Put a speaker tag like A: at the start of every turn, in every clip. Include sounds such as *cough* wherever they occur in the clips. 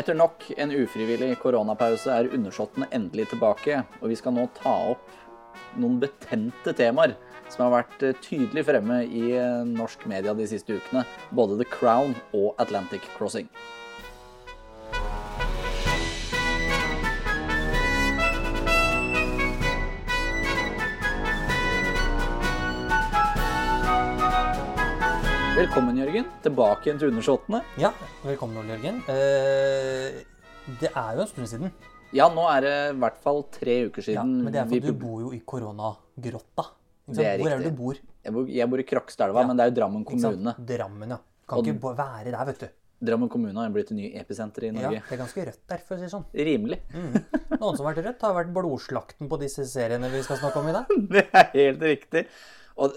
A: Etter nok en ufrivillig koronapause er undersåttene endelig tilbake, og vi skal nå ta opp noen betente temaer som har vært eh, tydelig fremme i eh, norsk media de siste ukene, både The Crown og Atlantic Crossing. Velkommen, Jørgen, tilbake igjen til undersåttene.
B: Ja, velkommen Ole Jørgen. Eh, det er jo en stund siden.
A: Ja, nå er det i hvert fall tre uker
B: Ja,
A: siden
B: men det er
A: vi
B: for at du
A: pub-
B: bor jo i koronagrotta. Ikke sant?
A: Det er
B: Hvor er
A: riktig.
B: det du bor?
A: Jeg bor, jeg bor i Krokstadelva, men det er jo Drammen
B: Ikke sant?
A: kommune.
B: Drammen, ja. Kan ikke bo- være der, vet du.
A: Drammen kommune har blitt et ny episenter i
B: Ja,
A: Norge.
B: det er ganske rødt der, for å si det sånn.
A: Rimelig. *laughs*
B: Noen som har vært rødt, har vært blodslakten på disse seriene vi skal snakke om i dag.
A: Det er helt riktig. Og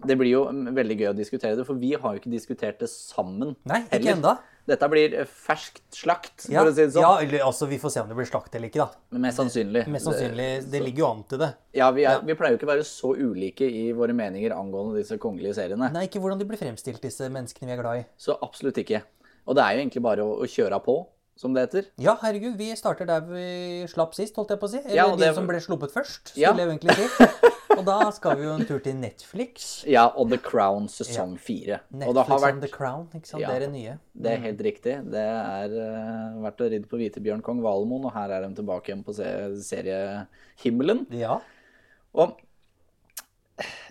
A: det blir jo veldig gøy å diskutere det, for vi har jo ikke diskutert det sammen
B: Nei, ikke enda.
A: Dette blir eh, ferskt slakt,
B: Ja,
A: for å si det sånn.
B: ja, eller altså, vi får se om det blir slakt eller ikke, da.
A: Men Mest sannsynlig.
B: Mest sannsynlig, det ligger jo an til det.
A: Ja, vi, er, vi pleier jo ikke å være så ulike i våre meninger angående disse kongelige seriene.
B: Nei, ikke hvordan de blir fremstilt, disse menneskene vi er glad i.
A: Så absolutt ikke. Og det er jo egentlig bare å, å kjøre på, som det heter.
B: Ja, herregud, vi starter der vi slapp sist, holdt jeg på å si. Eller
A: Ja, og
B: de
A: det-
B: som ble sluppet først, skulle
A: Ja.
B: jeg jo egentlig si. Og da skal vi jo en tur til Netflix.
A: Ja, og The Crown sesong fire. Og det
B: Netflix
A: har
B: and
A: vært
B: The Crown, ikke sant?
A: Ja.
B: Det er det nye.
A: Det er helt riktig. Det er eh, vært å ridde på Hvitebjørn Kong Valmoen, og her er de tilbake igjen på se seriehimmelen.
B: Ja.
A: Og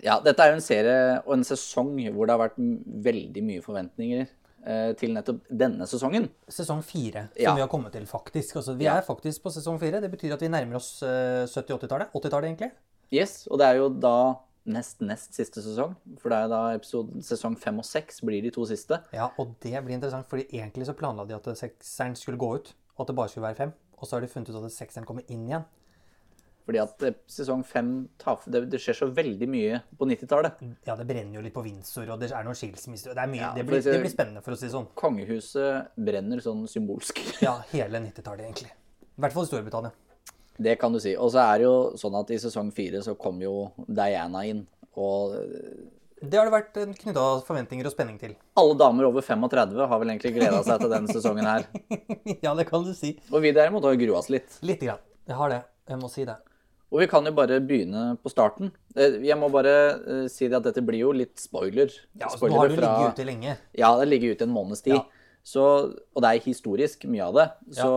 A: ja, dette er jo en serie og en sesong hvor det har vært m- veldig mye forventninger eh, til nettopp denne sesongen.
B: Sesong fire, som
A: Ja.
B: vi har kommet til, faktisk. Altså, vi
A: Ja.
B: er faktisk på sesong fire. Det betyr at vi nærmer oss eh, 70-80-tallet. 80-tallet, egentlig.
A: Yes, og det er jo da nest nest siste sesong, for det er da episode, sesong fem og seks blir de to siste.
B: Ja, og det blir interessant, fordi egentlig så planla de at sekseren skulle gå ut, og at det bare skulle være fem. Og så har de funnet ut at sekseren kommer inn igjen.
A: Fordi at eh, sesong fem tar, det, det skjer så veldig mye på 90-tallet.
B: Ja, det brenner jo litt på Windsor, og det er noen skilsmisser. og Det, er mye,
A: Ja,
B: det,
A: for
B: blir,
A: det-
B: det blir spennende, for å si det sånn.
A: Kongehuset brenner sånn symbolsk. *laughs*
B: Ja, hele 90-tallet, egentlig. I hvert fall i Storbritannia.
A: Det kan du si. Og så er det jo sånn at i sesong fire så kom jo Diana inn. Og
B: Det har det vært knytta forventninger og spenning til. *laughs*
A: alle damer over 35 har vel egentlig gleda seg til denne sesongen her.
B: ja, det kan du si.
A: Og vi derimot har jo grua oss litt.
B: Lite grann. Jeg har det. Jeg må si det.
A: Og vi kan jo bare begynne på starten. Eh, Jeg må bare eh, si det at dette blir jo litt spoiler.
B: Ja, altså,
A: Spoilere
B: nå har du ligget ute lenge.
A: Ja, det ligger ute en måneds tid.
B: Ja.
A: Så, og det er historisk, mye av det. Så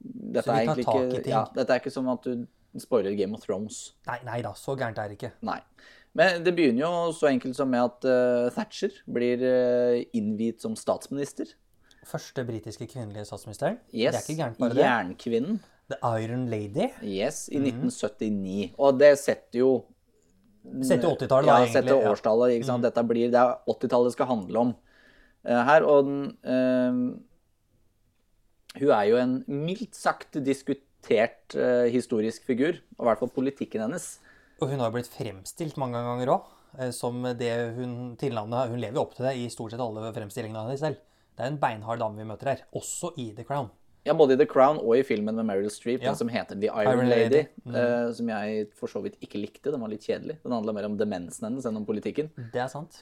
A: dette
B: Så
A: er
B: vi tar
A: egentlig
B: tak i
A: ikke
B: ting.
A: ja, Dette er ikke som at du spoiler Game of Thrones.
B: Nei, nei da, så gærent er det ikke.
A: Nei. Men det begynner jo så enkelt som med at eh, Thatcher blir eh, innviet som statsminister.
B: Første britiske kvinnelige statsministeren.
A: Yes.
B: Det er ikke gærent, bare det. Mhm.
A: Jernkvinnen.
B: The Iron Lady.
A: Yes, i 1979. Og det setter jo
B: Setter 80-tallet, da,
A: Mm. Ja,
B: egentlig. Mhm.
A: setter årstallet. Ikke sant? Dette blir, det er 80-tallet det skal handle om eh, her. Og den eh, Hun er jo en mildt sagt diskutert eh, historisk figur. Og i hvert fall politikken hennes.
B: Og hun har jo blitt fremstilt mange ganger òg. Som det hun tilnavnet Hun lever jo opp til det i stort sett alle fremstillingene av henne selv. Det er en beinhard dame vi møter her. Også i The Crown.
A: Ja, både i The Crown og i filmen med Meryl Streep,
B: Ja.
A: den som heter The Iron,
B: Iron
A: Lady,
B: Lady. Mm.
A: eh, som jeg for så vidt ikke likte. Den var litt kjedelig. Den handla mer om demensen hennes enn om politikken.
B: Det er sant.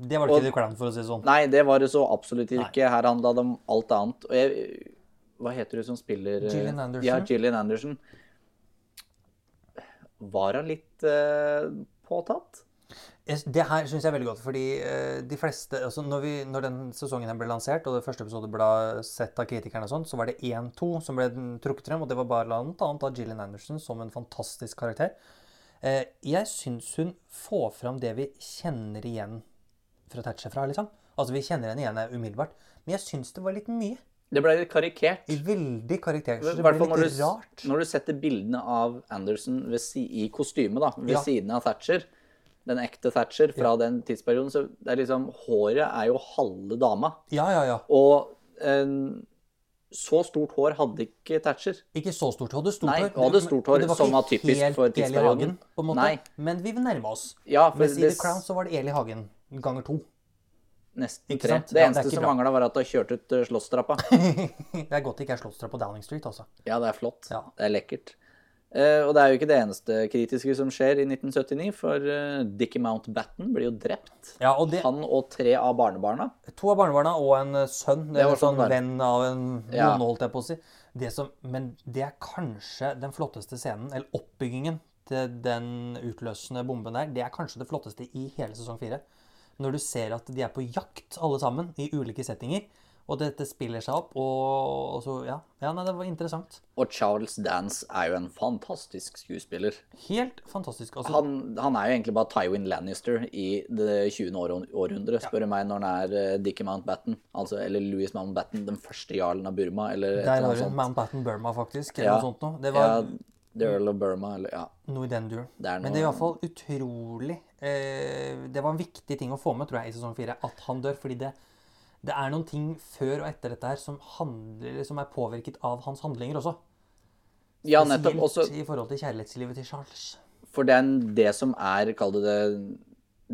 B: Det var det ikke i The Crown, for å si det sånn.
A: Nei, det var det så absolutt ikke. Her handla det om alt annet. Og jeg Hva heter hun som spiller eh,
B: Gillian Anderson.
A: Ja, Gillian Anderson. Var hun litt eh, påtatt?
B: Jeg- Det her syns jeg er veldig godt, fordi eh, de fleste altså når, vi, når den sesongen her ble lansert, og det første episode ble sett av kritikerne, og sånn, så var det 1-2 som ble den trukket frem, og det var bl.a. av Gillian Anderson som en fantastisk karakter. Eh, jeg syns hun får fram det vi kjenner igjen fra Thatcher fra, liksom. Altså, vi kjenner henne igjen umiddelbart. Men jeg syns det var litt mye.
A: Det ble litt karikert.
B: Veldig karakter. Så
A: I
B: det
A: hvert
B: ble
A: fall når
B: litt
A: du,
B: rart.
A: når du setter bildene av Anderson ved, si, i kostyme da, ved
B: Ja.
A: siden av Thatcher, den ekte Thatcher fra den tidsperioden, så det er liksom, håret er jo halve dama.
B: Ja, ja, ja.
A: Og eh, så stort hår hadde ikke Thatcher.
B: Ikke så stort hår. Det stort
A: Nei,
B: hår.
A: hun hadde stort hår,
B: men det
A: som var
B: ikke
A: typisk
B: helt
A: for
B: Eli
A: tidsperioden.
B: Hagen, på en måte.
A: Nei.
B: Men vi nærma oss.
A: Ja, for
B: Mens i
A: det
B: The Crown så var det Eli Hagen ganger to. *laughs*
A: nesten
B: Ikke
A: tre. Det
B: sant? Ja, det er
A: eneste
B: ikke
A: som
B: bra.
A: mangla, var at hun kjørte ut eh,
B: *laughs*
A: slottstrappa.
B: Det er godt det ikke er Slottstra på Downing Street, altså.
A: Ja, det er flott.
B: Ja.
A: Det er lekkert. Eh, og det er jo ikke det eneste kritiske som skjer i 1979, for eh, Dickie Mountbatten blir jo drept.
B: Ja, og det,
A: Han og tre av barnebarna.
B: To av barnebarna og en eh, sønn. Det
A: Det
B: er
A: var
B: en sånn
A: sånn det var.
B: venn av en
A: Ja.
B: bonde, holdt jeg på å si. Det som, men det er kanskje den flotteste scenen, eller oppbyggingen til den utløsende bomben der, det er kanskje det flotteste i hele sesong fire. Når du ser at de er på jakt, alle sammen, i ulike settinger. Og dette spiller seg opp, og, og så Ja, ja nei, det var interessant.
A: Og Charles Dance er jo en fantastisk skuespiller.
B: Helt fantastisk. Altså,
A: Han, han er jo egentlig bare Tywin Lannister i det 20. århund- århundre, spør du meg, når han er eh, Dickie Mountbatten. Altså, eller Louis Mountbatten, den første jarlen av Burma, eller et
B: der
A: eller
B: har
A: annet
B: du
A: sånt.
B: Mountbatten Burma, faktisk. Eller
A: Ja.
B: noe sånt noe. Det var
A: Ja, The Earl of Burma, eller ja.
B: noe i den duren.
A: Det er
B: Men det er i
A: noe-
B: hvert fall utrolig eh, Det var en viktig ting å få med tror jeg, i sesong fire, at han dør. Fordi det, det er noen ting før og etter dette her som, handler, som er påvirket av hans handlinger også.
A: Ja, nettopp.
B: Spesielt
A: Også,
B: i forhold til kjærlighetslivet til Charles.
A: For det er det som er, kall det det,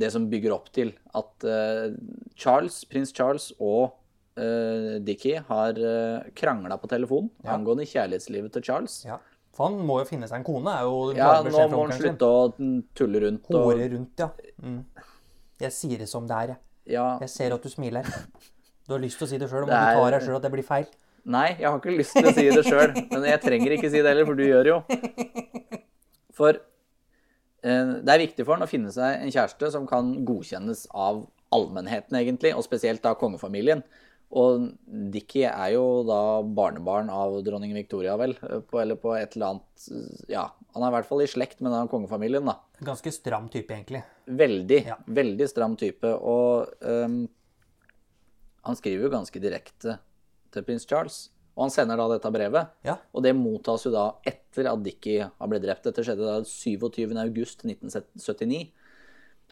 A: det som bygger opp til at eh, Charles, prins Charles og eh, Dickie har uh, krangla på telefon angående kjærlighetslivet til Charles. Ja,
B: Ja. For han må jo finne seg en kone. er jo
A: nå
B: klar beskjed fra
A: må han
B: onkelen sin.
A: slutte å mm, tulle rundt og
B: Hore rundt, ja. Mm. Jeg sier det som det er, jeg.
A: ja.
B: Jeg ser at du smiler. Du har lyst til å si det sjøl, men
A: Det
B: du tar
A: er-
B: deg sjøl at det blir feil.
A: Nei, jeg har ikke lyst til å si det sjøl, men jeg trenger ikke si det heller, for du gjør det jo. For eh, det er viktig for han å finne seg en kjæreste som kan godkjennes av allmennheten, egentlig, og spesielt da kongefamilien. Og Dickie er jo da barnebarn av dronning Victoria, vel, på, eller på et eller annet Ja, han er i hvert fall i slekt med den kongefamilien, da
B: Ganske stram type, egentlig.
A: veldig,
B: Ja.
A: veldig stram type. Og ehm, han skriver jo ganske direkte til prins Charles. Og han sender da dette brevet.
B: Ja.
A: Og det mottas jo da etter at Dickie har blitt drept. Dette skjedde da 27.8.1979.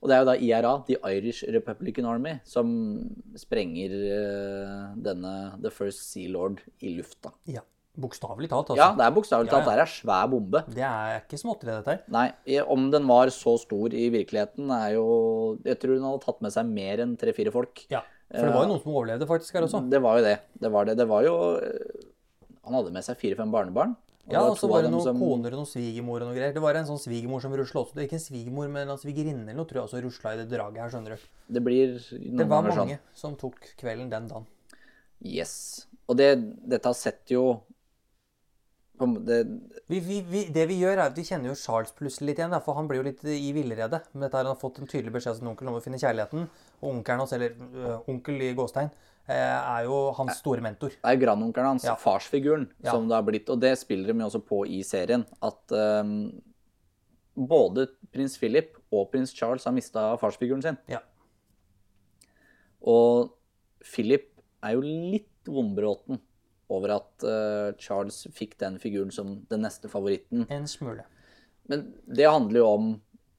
A: Og det er jo da IRA, The Irish Republican Army, som sprenger eh, denne The First Sea Lord i lufta.
B: Ja. Bokstavelig talt, altså.
A: Ja, det er bokstavelig
B: Ja, ja.
A: talt. Det er ei svær bombe.
B: Det er ikke småtteri, dette her.
A: Nei, i- om den var så stor i virkeligheten, er jo Jeg tror hun hadde tatt med seg mer enn tre-fire folk.
B: Ja, sånn. for
A: Eh,
B: det var jo noen som overlevde faktisk her også.
A: Det var jo det. Det var det. Det var jo øh, Han hadde med seg fire-fem barnebarn.
B: Ja, og så
A: to av
B: var det
A: dem
B: noen
A: som-
B: koner og noen svigermor og noe greier. Det var en sånn svigermor som rusla også. Det er ikke en svigermor, men en svigerinne eller noe, tror jeg også rusla i det draget her, skjønner du.
A: Det blir
B: Det
A: noen
B: var
A: ganger sånn.
B: mange som tok kvelden den dagen.
A: Yes. Og det, dette setter jo på en måte- det,
B: Vi, vi, vi, det vi gjør, er at vi kjenner jo Charles plutselig litt igjen, da, for han blir jo litt i villrede. Men dette her, han har fått en tydelig beskjed av sin onkel om å finne kjærligheten. Og onkelen hans, eller øh, onkel i gåstein, eh, er jo hans store mentor.
A: det er grandonkelen hans,
B: Ja.
A: farsfiguren,
B: Ja.
A: som det har blitt. Og det spiller de jo også på i serien. At øhm, både prins Philip og prins Charles har mista farsfiguren sin.
B: Ja.
A: Og Philip er jo litt vonbråten over at eh, Charles fikk den figuren som den neste favoritten.
B: En smule.
A: Men det handler jo om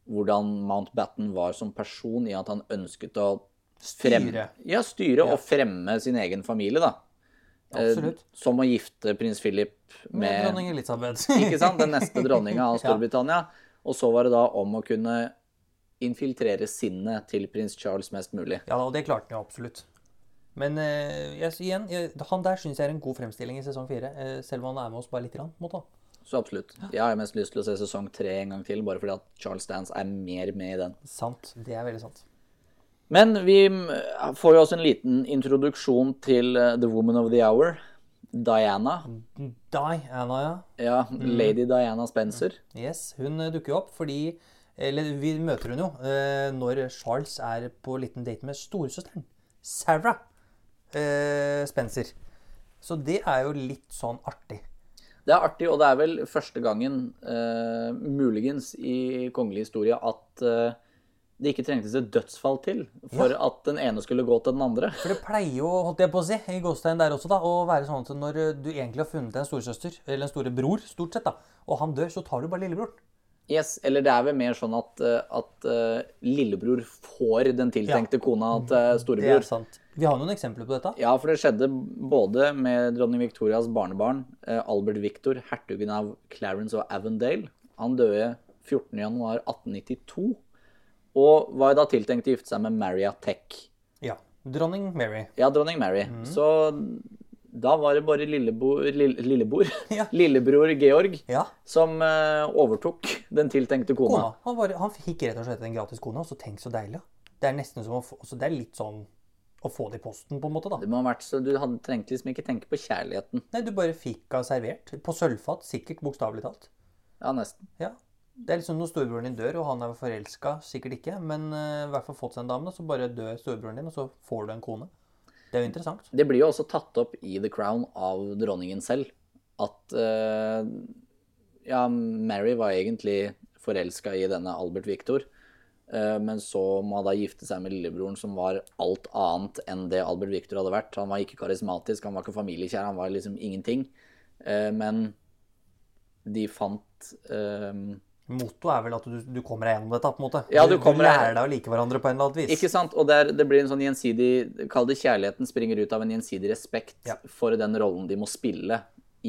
A: hvordan Mountbatten var som person, i at han ønsket å frem-
B: Styre.
A: Ja, styre og fremme sin egen familie, da. Eh,
B: Absolutt.
A: som å gifte prins Philip
B: Med
A: med
B: dronning Elisabeth.
A: *laughs*
B: *laughs*
A: ikke sant? Den neste dronninga av
B: Ja.
A: Storbritannia. Og så var det da om å kunne infiltrere sinnet til prins Charles mest mulig.
B: Ja, og det klarte han jo absolutt. Men eh, jeg, igjen, jeg, han der syns jeg er en god fremstilling i sesong fire. eh, selv om han er med oss bare lite grann. på en måte.
A: Så absolutt. Jeg har mest lyst til å se sesong tre en gang til, bare fordi at Charles Dance er mer med i den.
B: Sant. Det er veldig sant.
A: Men vi mm, får jo også en liten introduksjon til eh, The Woman of the Hour. Diana.
B: Die, Anna, ja.
A: Ja,
B: Mm.
A: Lady Diana Spencer.
B: Yes, Hun eh, dukker jo opp fordi Eller vi møter hun jo eh, når Charles er på liten date med storesøsteren. Sarah eh, Spencer. Så det er jo litt sånn artig.
A: Det er artig, og det er vel første gangen, eh, muligens i kongelig historie, at eh, det ikke trengtes et dødsfall til for at den ene skulle gå til den andre.
B: For det pleier jo, holdt jeg på å si, i gåstein der også, da, å være sånn at når eh, du egentlig har funnet en storesøster, eller en storebror, stort sett, da, og han dør, så tar du bare lillebroren.
A: Yes, eller det er vel mer sånn at, eh, at eh, lillebror får den tiltenkte kona til
B: Mm. Det
A: storebror.
B: er sant. Vi har noen eksempler på dette.
A: Ja, for det skjedde både med dronning Victorias barnebarn, eh, Albert Victor, hertugen av Clarence og Avondale. Han døde 14.1.1892, og var jo da tiltenkt å gifte seg med Maria Tech.
B: Ja. Dronning Mary.
A: Ja, dronning Mary. Så Da var det bare lillebo, lill, lillebor,
B: Ja.
A: lillebror Georg
B: Ja.
A: som eh, overtok den tiltenkte kona.
B: Kona. Han, bare, han fikk rett og slett en gratis kone, og så tenk så deilig. da. Det er nesten som å få, så det er litt sånn å få det i posten, på en måte. da.
A: Det må ha vært så Du hadde trengte liksom ikke tenke på kjærligheten.
B: Nei, du bare fikk henne servert. På sølvfat, sikkert bokstavelig talt.
A: Ja, nesten.
B: Ja. Det er liksom når storebroren din dør, og han er forelska, sikkert ikke, men eh, i hvert fall fått seg en dame, så bare dør storebroren din, og så får du en kone. Det er jo interessant.
A: Det blir jo også tatt opp i The Crown av dronningen selv at eh, Ja, Mary var egentlig forelska i denne Albert Victor, eh, men så må hun da gifte seg med lillebroren, som var alt annet enn det Albert Victor hadde vært. Han var ikke karismatisk, han var ikke familiekjær, han var liksom ingenting. Eh, men de fant eh,
B: Motto er vel at du, du kommer deg gjennom dette, på en måte.
A: Ja, du kommer
B: du
A: deg-
B: lærer deg å like hverandre på en eller annen vis.
A: Ikke sant? Og der, det blir en sånn gjensidig Kall det kjærligheten springer ut av en gjensidig respekt
B: Ja.
A: for den rollen de må spille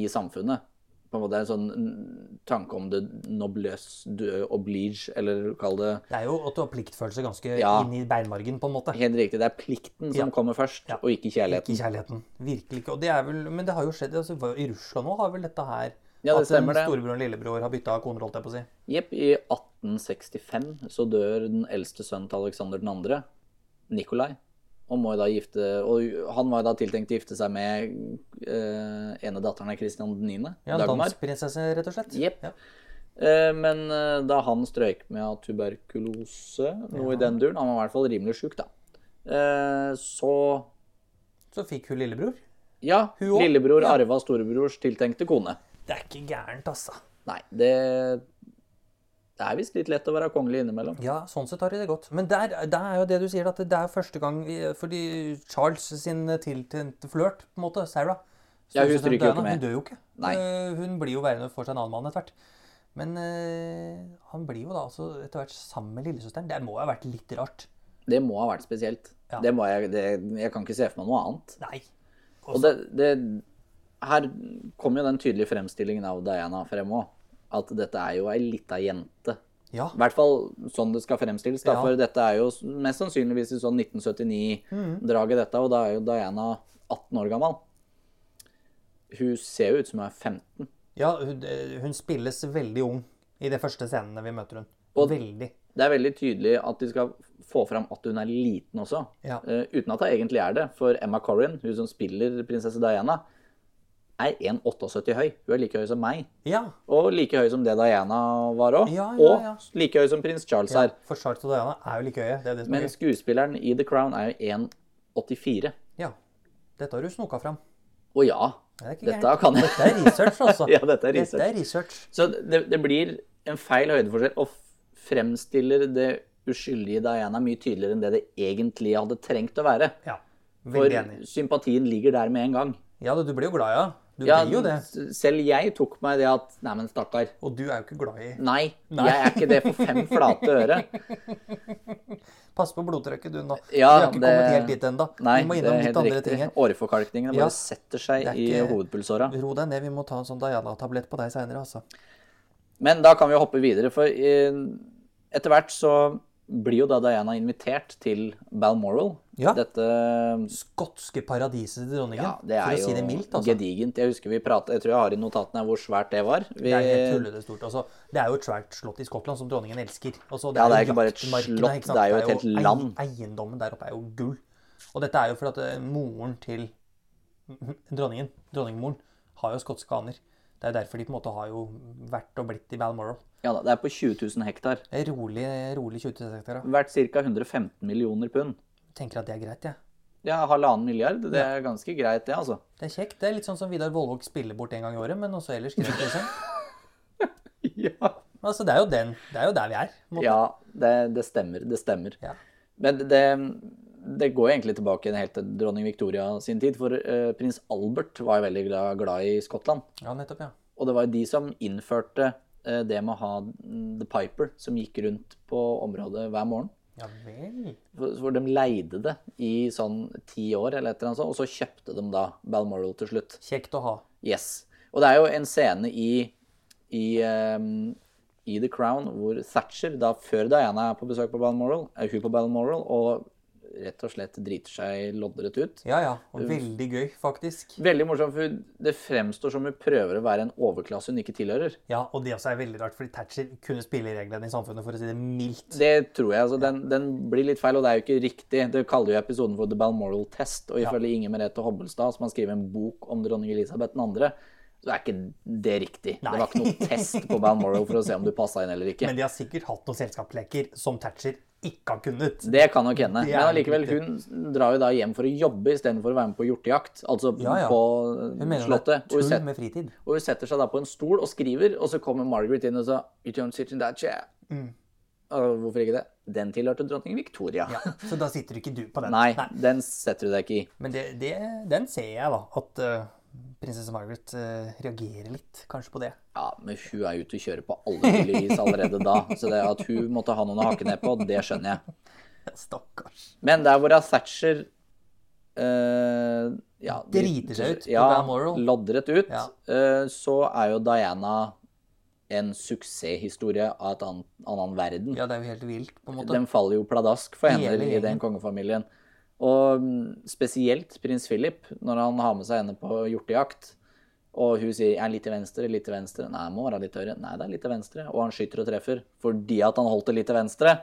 A: i samfunnet. På en måte en sånn mm, tanke om det noblesse du oblige, eller kall det
B: Det er jo at du har pliktfølelse ganske
A: Ja.
B: inn i beinmargen, på en måte.
A: Helt riktig, det er plikten som
B: Ja.
A: kommer først,
B: Ja.
A: og ikke kjærligheten.
B: Ikke kjærligheten. Virkelig ikke. Og det er vel, men det har jo skjedd altså, I Russland nå har vel dette her
A: Ja, det
B: At en
A: stemmer det.
B: storebror og en lillebror har bytta koner, holdt jeg på å si.
A: Jepp, i 1865 så dør den eldste sønnen til Alexander 2., Nikolai. Og, må jo da gifte, og han var jo da tiltenkt å gifte seg med eh, ene datteren av Kristian 9.,
B: Ja, en
A: Dagmar.
B: dansprinsesse, rett og slett.
A: Jepp.
B: Ja.
A: Eh, Men eh, da han strøyk med tuberkulose, noe i den duren, han var i hvert fall rimelig sjuk, da. Eh, Så
B: Så fikk hun lillebror.
A: ja,
B: Hun også?
A: lillebror
B: Ja.
A: arva storebrors tiltenkte kone.
B: Det er ikke gærent, altså.
A: Nei, det, det er visst litt lett å være kongelig innimellom.
B: Ja, sånn sett har de det godt. Men der, der er jo det du sier, at det er første gang vi- Fordi Charles sin tiltente flørt, på en måte, Sarah
A: Ja, hun
B: stort sett
A: stryker jo ikke
B: døende.
A: med.
B: Hun dør jo ikke.
A: Nei.
B: Eh, Hun blir jo værende for seg en annen mann etter hvert. Men eh, han blir jo da altså etter hvert sammen med lillesøsteren. Det må jo ha vært litt rart.
A: Det må ha vært spesielt.
B: Ja.
A: Det må jeg, det, jeg kan ikke se for meg noe annet.
B: Nei.
A: Og det, det, her kommer jo den tydelige fremstillingen av Diana frem òg. At dette er jo ei lita jente.
B: Ja.
A: I hvert fall sånn det skal fremstilles. Da,
B: Ja.
A: For dette er jo s- mest sannsynligvis i sånn 1979-draget, dette. Og da er jo Diana 18 år gammel. Hun ser jo ut som hun er 15.
B: ja hun, eh, hun spilles veldig ung i de første scenene vi møter hun.
A: Og-
B: veldig.
A: Det er veldig tydelig at de skal få fram at hun er liten også.
B: Ja.
A: Eh, uten at hun egentlig er det. For Emma Corrin, hun som spiller prinsesse Diana, er 1,78 høy. Hun er like høy som meg.
B: Ja.
A: Og like høy som det Diana var òg.
B: Ja, ja, ja.
A: Og like høy som prins Charles
B: ja.
A: er.
B: For Charles og Diana er jo like høye. Det er det som er
A: Men
B: gøy.
A: skuespilleren i The Crown er jo 1,84.
B: Ja. Dette har du snoka fram.
A: Og ja,
B: Det er ikke
A: Dette
B: gærent.
A: kan jeg. *laughs*
B: Dette er research, altså.
A: Ja, dette er
B: Dette
A: research.
B: er research.
A: Så det, det blir en feil høydeforskjell og f- fremstiller det uskyldige Diana mye tydeligere enn det det egentlig hadde trengt å være.
B: Ja,
A: For
B: veldig enig.
A: sympatien ligger der med en gang.
B: Ja, du blir jo glad, ja. Du
A: Ja,
B: blir jo det.
A: s- Selv jeg tok meg det at Nei, men stakkar.
B: Og du er jo ikke glad i
A: Nei,
B: Nei.
A: jeg er ikke det for fem flate øre.
B: Pass på blodtrykket, du, nå.
A: Ja,
B: du har ikke
A: det-
B: kommet helt dit ennå.
A: Nei,
B: *laughs* Vi må
A: det
B: innom
A: er
B: litt
A: helt
B: andre
A: riktig.
B: ting her.
A: Åreforkalkningene bare
B: Ja,
A: setter seg
B: det er
A: i
B: ikke-
A: hovedpulsåra.
B: Ro deg ned, vi må ta en sånn Diana-tablett på deg seinere, altså.
A: Men da kan vi hoppe videre, for eh, etter hvert så blir jo da Diana invitert til Balmoral.
B: Ja.
A: Dette
B: Skotske paradiset til dronningen,
A: Ja, det er
B: for å si
A: jo
B: det mildt. altså.
A: gedigent. Jeg husker vi pratet, jeg tror jeg har i notatene hvor svært det var. Vi,
B: Det er helt tullete stort. altså. Det er jo et svært slott i Skottland som dronningen elsker. Altså,
A: Ja, det er
B: jo
A: ikke bare et
B: jaktmarkene,
A: slott,
B: ikke sant?
A: det er jo et helt
B: ei-
A: land.
B: Eiendommen der oppe er jo gull. Og dette er jo fordi at eh, moren til *laughs* dronningen, dronningmoren, har jo skotske aner. Det er jo derfor de på en måte har jo vært og blitt i Balmoral.
A: ja, da, det er på 20 000 hektar.
B: Det er Rolig, rolig 20 hektar. da.
A: Verdt ca. 115 millioner pund.
B: Tenker at det er greit, jeg. Ja.
A: Ja, halvannen milliard. Det er ganske greit, det,
B: *laughs*
A: altså.
B: Det er kjekt. Det er litt sånn som Vidar Vollvåg spiller bort en gang i året, men også ellers greit, liksom.
A: Ja,
B: Altså, det er jo den. Det er jo der vi er. på en måte.
A: det, det stemmer. Det stemmer.
B: Ja.
A: Men det, det går egentlig tilbake helt til dronning Victoria sin tid, for eh, prins Albert var jo veldig glad, glad i Skottland.
B: ja, nettopp, ja.
A: Og det var jo de som innførte eh, det med å ha mm, The Piper, som gikk rundt på området hver morgen.
B: Ja vel.
A: For for de leide det i sånn ti år, eller et eller annet sånt, og så kjøpte de da Balmoral til slutt.
B: Kjekt å ha.
A: Yes. Og det er jo en scene i, i, ehm, i The Crown hvor Thatcher, da før Diana er på besøk på Balmoral, er hun på Balmoral, og rett og slett driter seg loddrett ut.
B: Ja, ja. Og veldig gøy, faktisk.
A: Veldig morsomt, for det fremstår som hun prøver å være en overklasse hun ikke tilhører.
B: Ja, Og det også er veldig rart, fordi Thatcher kunne spillereglene i samfunnet, for å si det mildt.
A: Det tror jeg. altså den, den blir litt feil, og det er jo ikke riktig. Det kaller jo episoden for The Balmoral Test. Og ifølge Inger Merete Hobbelstad, som har skrevet en bok om dronning Elisabeth 2., så er ikke det riktig.
B: Nei.
A: Det var ikke noen test på Balmoral for å se om du passa inn eller ikke.
B: *laughs* Men de har sikkert hatt noen selskapsleker som Thatcher ikke har kunnet.
A: Det kan nok hende.
B: Det er
A: Men allikevel,
B: riktig.
A: hun drar jo da hjem for å jobbe istedenfor å være med på hjortejakt. Altså
B: Ja, ja. Hun
A: på eh,
B: mener det
A: slottet.
B: er
A: Og hun,
B: tull
A: set,
B: med fritid.
A: og hun setter seg da på en stol og skriver, og så kommer Margaret inn og sa You don't sit in that chair.
B: Mm.
A: Og hvorfor ikke det? Den tilhørte dronning Victoria. *laughs*
B: Ja, så da sitter ikke du på den.
A: Nei, den setter du deg ikke i.
B: Men det, det, den ser jeg, da. At eh, prinsesse Margaret eh, reagerer litt, kanskje, på det.
A: Ja, men hun er ute og kjører på alle mulige vis allerede da. Så det at hun måtte ha noen å hake ned på, det skjønner jeg.
B: Ja, Stakkars.
A: Men der hvor av Thatcher eh, ja,
B: Driter seg ut på
A: Ja,
B: Balmoral.
A: loddrett ut.
B: Ja.
A: eh, så er jo Diana en suksesshistorie av et annet, annen verden.
B: Ja, det er jo helt vilt, på en måte.
A: Den faller jo pladask for hender
B: Hele
A: i den
B: gjengen.
A: kongefamilien. Og mm, spesielt prins Philip, når han har med seg henne på hjortejakt. Og hun sier 'jeg er litt til venstre, litt til venstre'. 'Nei, jeg må være litt til høyre'. 'Nei, det er litt til venstre'. Og han skyter og treffer fordi at han holdt det litt til venstre.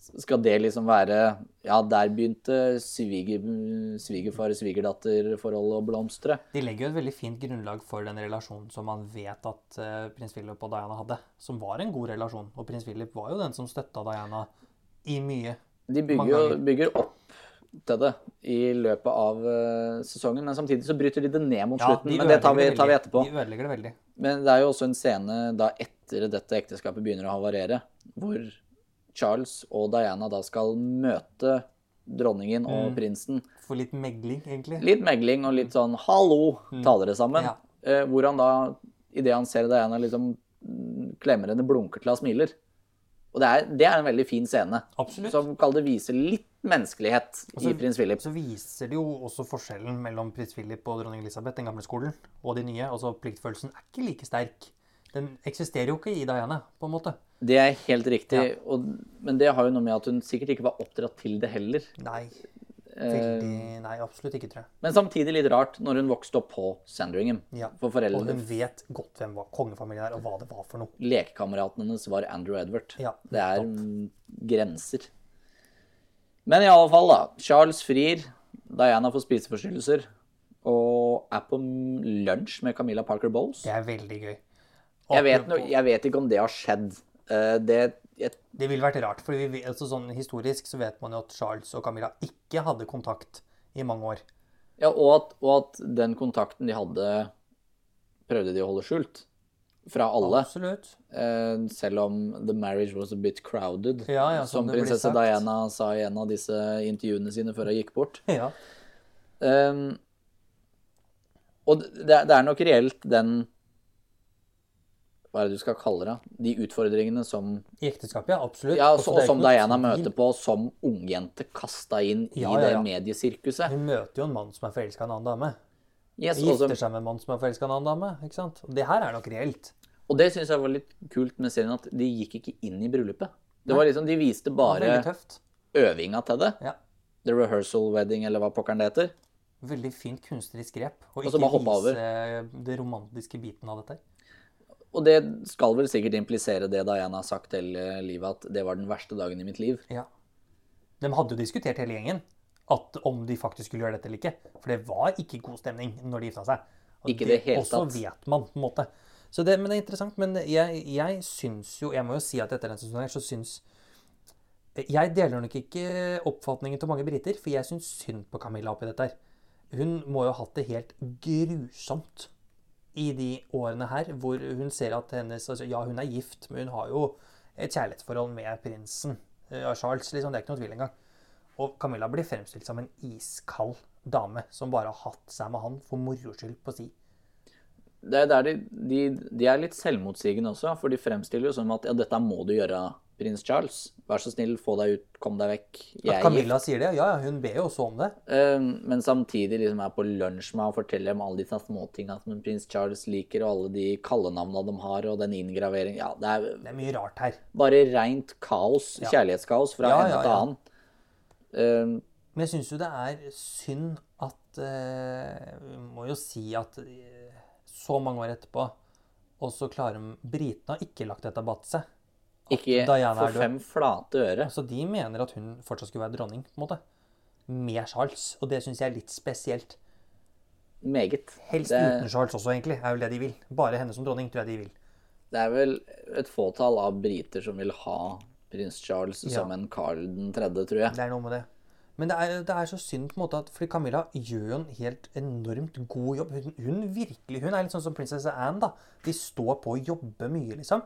A: Skal det liksom være Ja, der begynte sviger, svigerfar-svigerdatter-forholdet å blomstre.
B: De legger jo et veldig fint grunnlag for den relasjonen som man vet at eh, prins Philip og Diana hadde, som var en god relasjon. Og prins Philip var jo den som støtta Diana i mye.
A: De bygger,
B: Mange
A: jo,
B: ganger.
A: bygger opp til det i løpet av eh, sesongen, men samtidig så bryter de det ned mot slutten.
B: de
A: men det tar vi,
B: ødelegger
A: tar vi
B: veldig.
A: etterpå.
B: De ødelegger det veldig.
A: Men det er jo også en scene da etter dette ekteskapet begynner å havarere, hvor Charles og Diana da skal møte dronningen
B: Mm.
A: og prinsen.
B: For litt megling, egentlig.
A: Litt megling og litt sånn 'hallo, ta dere sammen'.
B: Mm. Ja.
A: Eh, hvor han da, idet han ser Diana, liksom mm, klemmer henne, blunker til hun smiler. Og det er, det er en veldig fin scene,
B: Absolutt. Altså-
A: som kall det viser litt menneskelighet i
B: så-
A: prins Philip.
B: Så viser det jo også forskjellen mellom prins Philip og dronning Elisabeth, den gamle skolen, og de nye. Altså pliktfølelsen er ikke like sterk. Den eksisterer jo ikke i Diana, på en måte.
A: Det er helt riktig, og, men det har jo noe med at hun sikkert ikke var oppdratt til det heller.
B: Nei.
A: Eh,
B: Veldig Nei, absolutt ikke, tror jeg.
A: Men samtidig litt rart når hun vokste opp på Sandringham.
B: Ja.
A: For
B: Og
A: foreldrene,
B: hun vet godt hvem var kongefamilien er, og hva det var for noe.
A: lekekameraten hennes var Andrew Edward.
B: Ja,
A: det er mm, grenser. Men i alle fall, da. Charles frir. Diana får spiseforstyrrelser. Og er på m- lunsj med Camilla Parker Bowles.
B: Det er veldig gøy.
A: Jeg vet, no, jeg vet ikke om det har skjedd. Eh, Det, jeg,
B: Det ville vært rart, for vi, vet- altså sånn historisk så vet man jo at Charles og Camilla ikke hadde kontakt i mange år.
A: ja, og, at, og at den kontakten de hadde, prøvde de å holde skjult. Fra alle.
B: Absolutt.
A: Eh, selv om the marriage was a bit crowded,
B: Ja, ja, som
A: som
B: det blir
A: prinsesse
B: sagt.
A: Diana sa i en av disse intervjuene sine før hun gikk bort.
B: Ja.
A: Um, og det, det er nok reelt den Hva er det du skal kalle det? De utfordringene som
B: I ekteskapet, ja. Absolutt.
A: ja,
B: Altså,
A: så,
B: det er
A: som
B: ikke noe
A: Diana
B: tvil.
A: møter på som ungjente kasta inn
B: Ja,
A: i
B: ja,
A: det
B: ja.
A: mediesirkuset.
B: Hun møter jo en mann som er forelska i en annen dame.
A: Yes, og,
B: Gifter
A: så-
B: seg med en mann som er forelska i en annen dame. ikke sant? Og det her er nok reelt.
A: og det syns jeg var litt kult med serien, at de gikk ikke inn i bryllupet. Det var liksom, De viste
B: Det var Veldig
A: bare
B: tøft.
A: øvinga til det.
B: Ja.
A: The Rehearsal Wedding, eller hva pokkeren det heter.
B: Veldig fint kunstnerisk grep. Og
A: så
B: ikke
A: bare hoppe over.
B: vise det romantiske biten av dette.
A: Og det skal vel sikkert implisere det Diana har sagt hele livet, at det var den verste dagen i mitt liv.
B: Ja. De hadde jo diskutert hele gjengen at om de faktisk skulle gjøre dette eller ikke. For det var ikke god stemning når de gifta seg. Og
A: Ikke i det hele
B: også
A: tatt.
B: vet man, på en måte. Så det, men det er interessant. Men jeg, jeg syns jo Jeg må jo si at etter den sesongen her, så syns Jeg deler nok ikke oppfatningen til mange briter, for jeg syns synd på Camilla oppi dette her. Hun må jo ha hatt det helt grusomt i de årene her, hvor hun ser at hennes altså, Ja, hun er gift, men hun har jo et kjærlighetsforhold med prinsen eh, av Charles. liksom, Det er ikke noe tvil engang. Og Camilla blir fremstilt som en iskald dame som bare har hatt seg med han for moro skyld på si.
A: Det er der de, de, de er litt selvmotsigende også, for de fremstiller jo som at ja, dette må du gjøre, prins Charles. Vær så snill, få deg ut, kom deg vekk. Jeg
B: At
A: er gift.
B: Camilla sier det, ja, ja, hun ber jo også om det.
A: Eh, Men samtidig liksom er på lunsj med ham og forteller om alle disse småtinga som prins Charles liker, og alle de kallenavna de har, og den inngraveringen Ja, det er
B: Det er mye rart her.
A: bare rent kaos, kjærlighetskaos fra
B: Ja,
A: en
B: ja,
A: til
B: ja.
A: annen. Eh,
B: Men jeg syns jo det er synd at eh, Vi må jo si at eh, så mange år etterpå, og så klarer de Britene har ikke lagt dette bak seg.
A: Ikke
B: Diana er
A: for
B: død.
A: fem flate øre.
B: Altså, de mener at hun fortsatt skulle være dronning, på en måte. Med Charles. Og det syns jeg er litt spesielt.
A: Meget.
B: Helst uten Charles også, egentlig. er vel det de vil. Bare henne som dronning, tror jeg de vil.
A: Det er vel et fåtall av briter som vil ha prins Charles
B: Ja.
A: som en Carl den tredje, tror jeg.
B: Det er noe med det. Men det er, det er så synd på en måte at Fordi Camilla gjør jo en helt enormt god jobb. Hun, hun virkelig, hun er litt sånn som prinsesse Anne, da. De står på og jobber mye, liksom.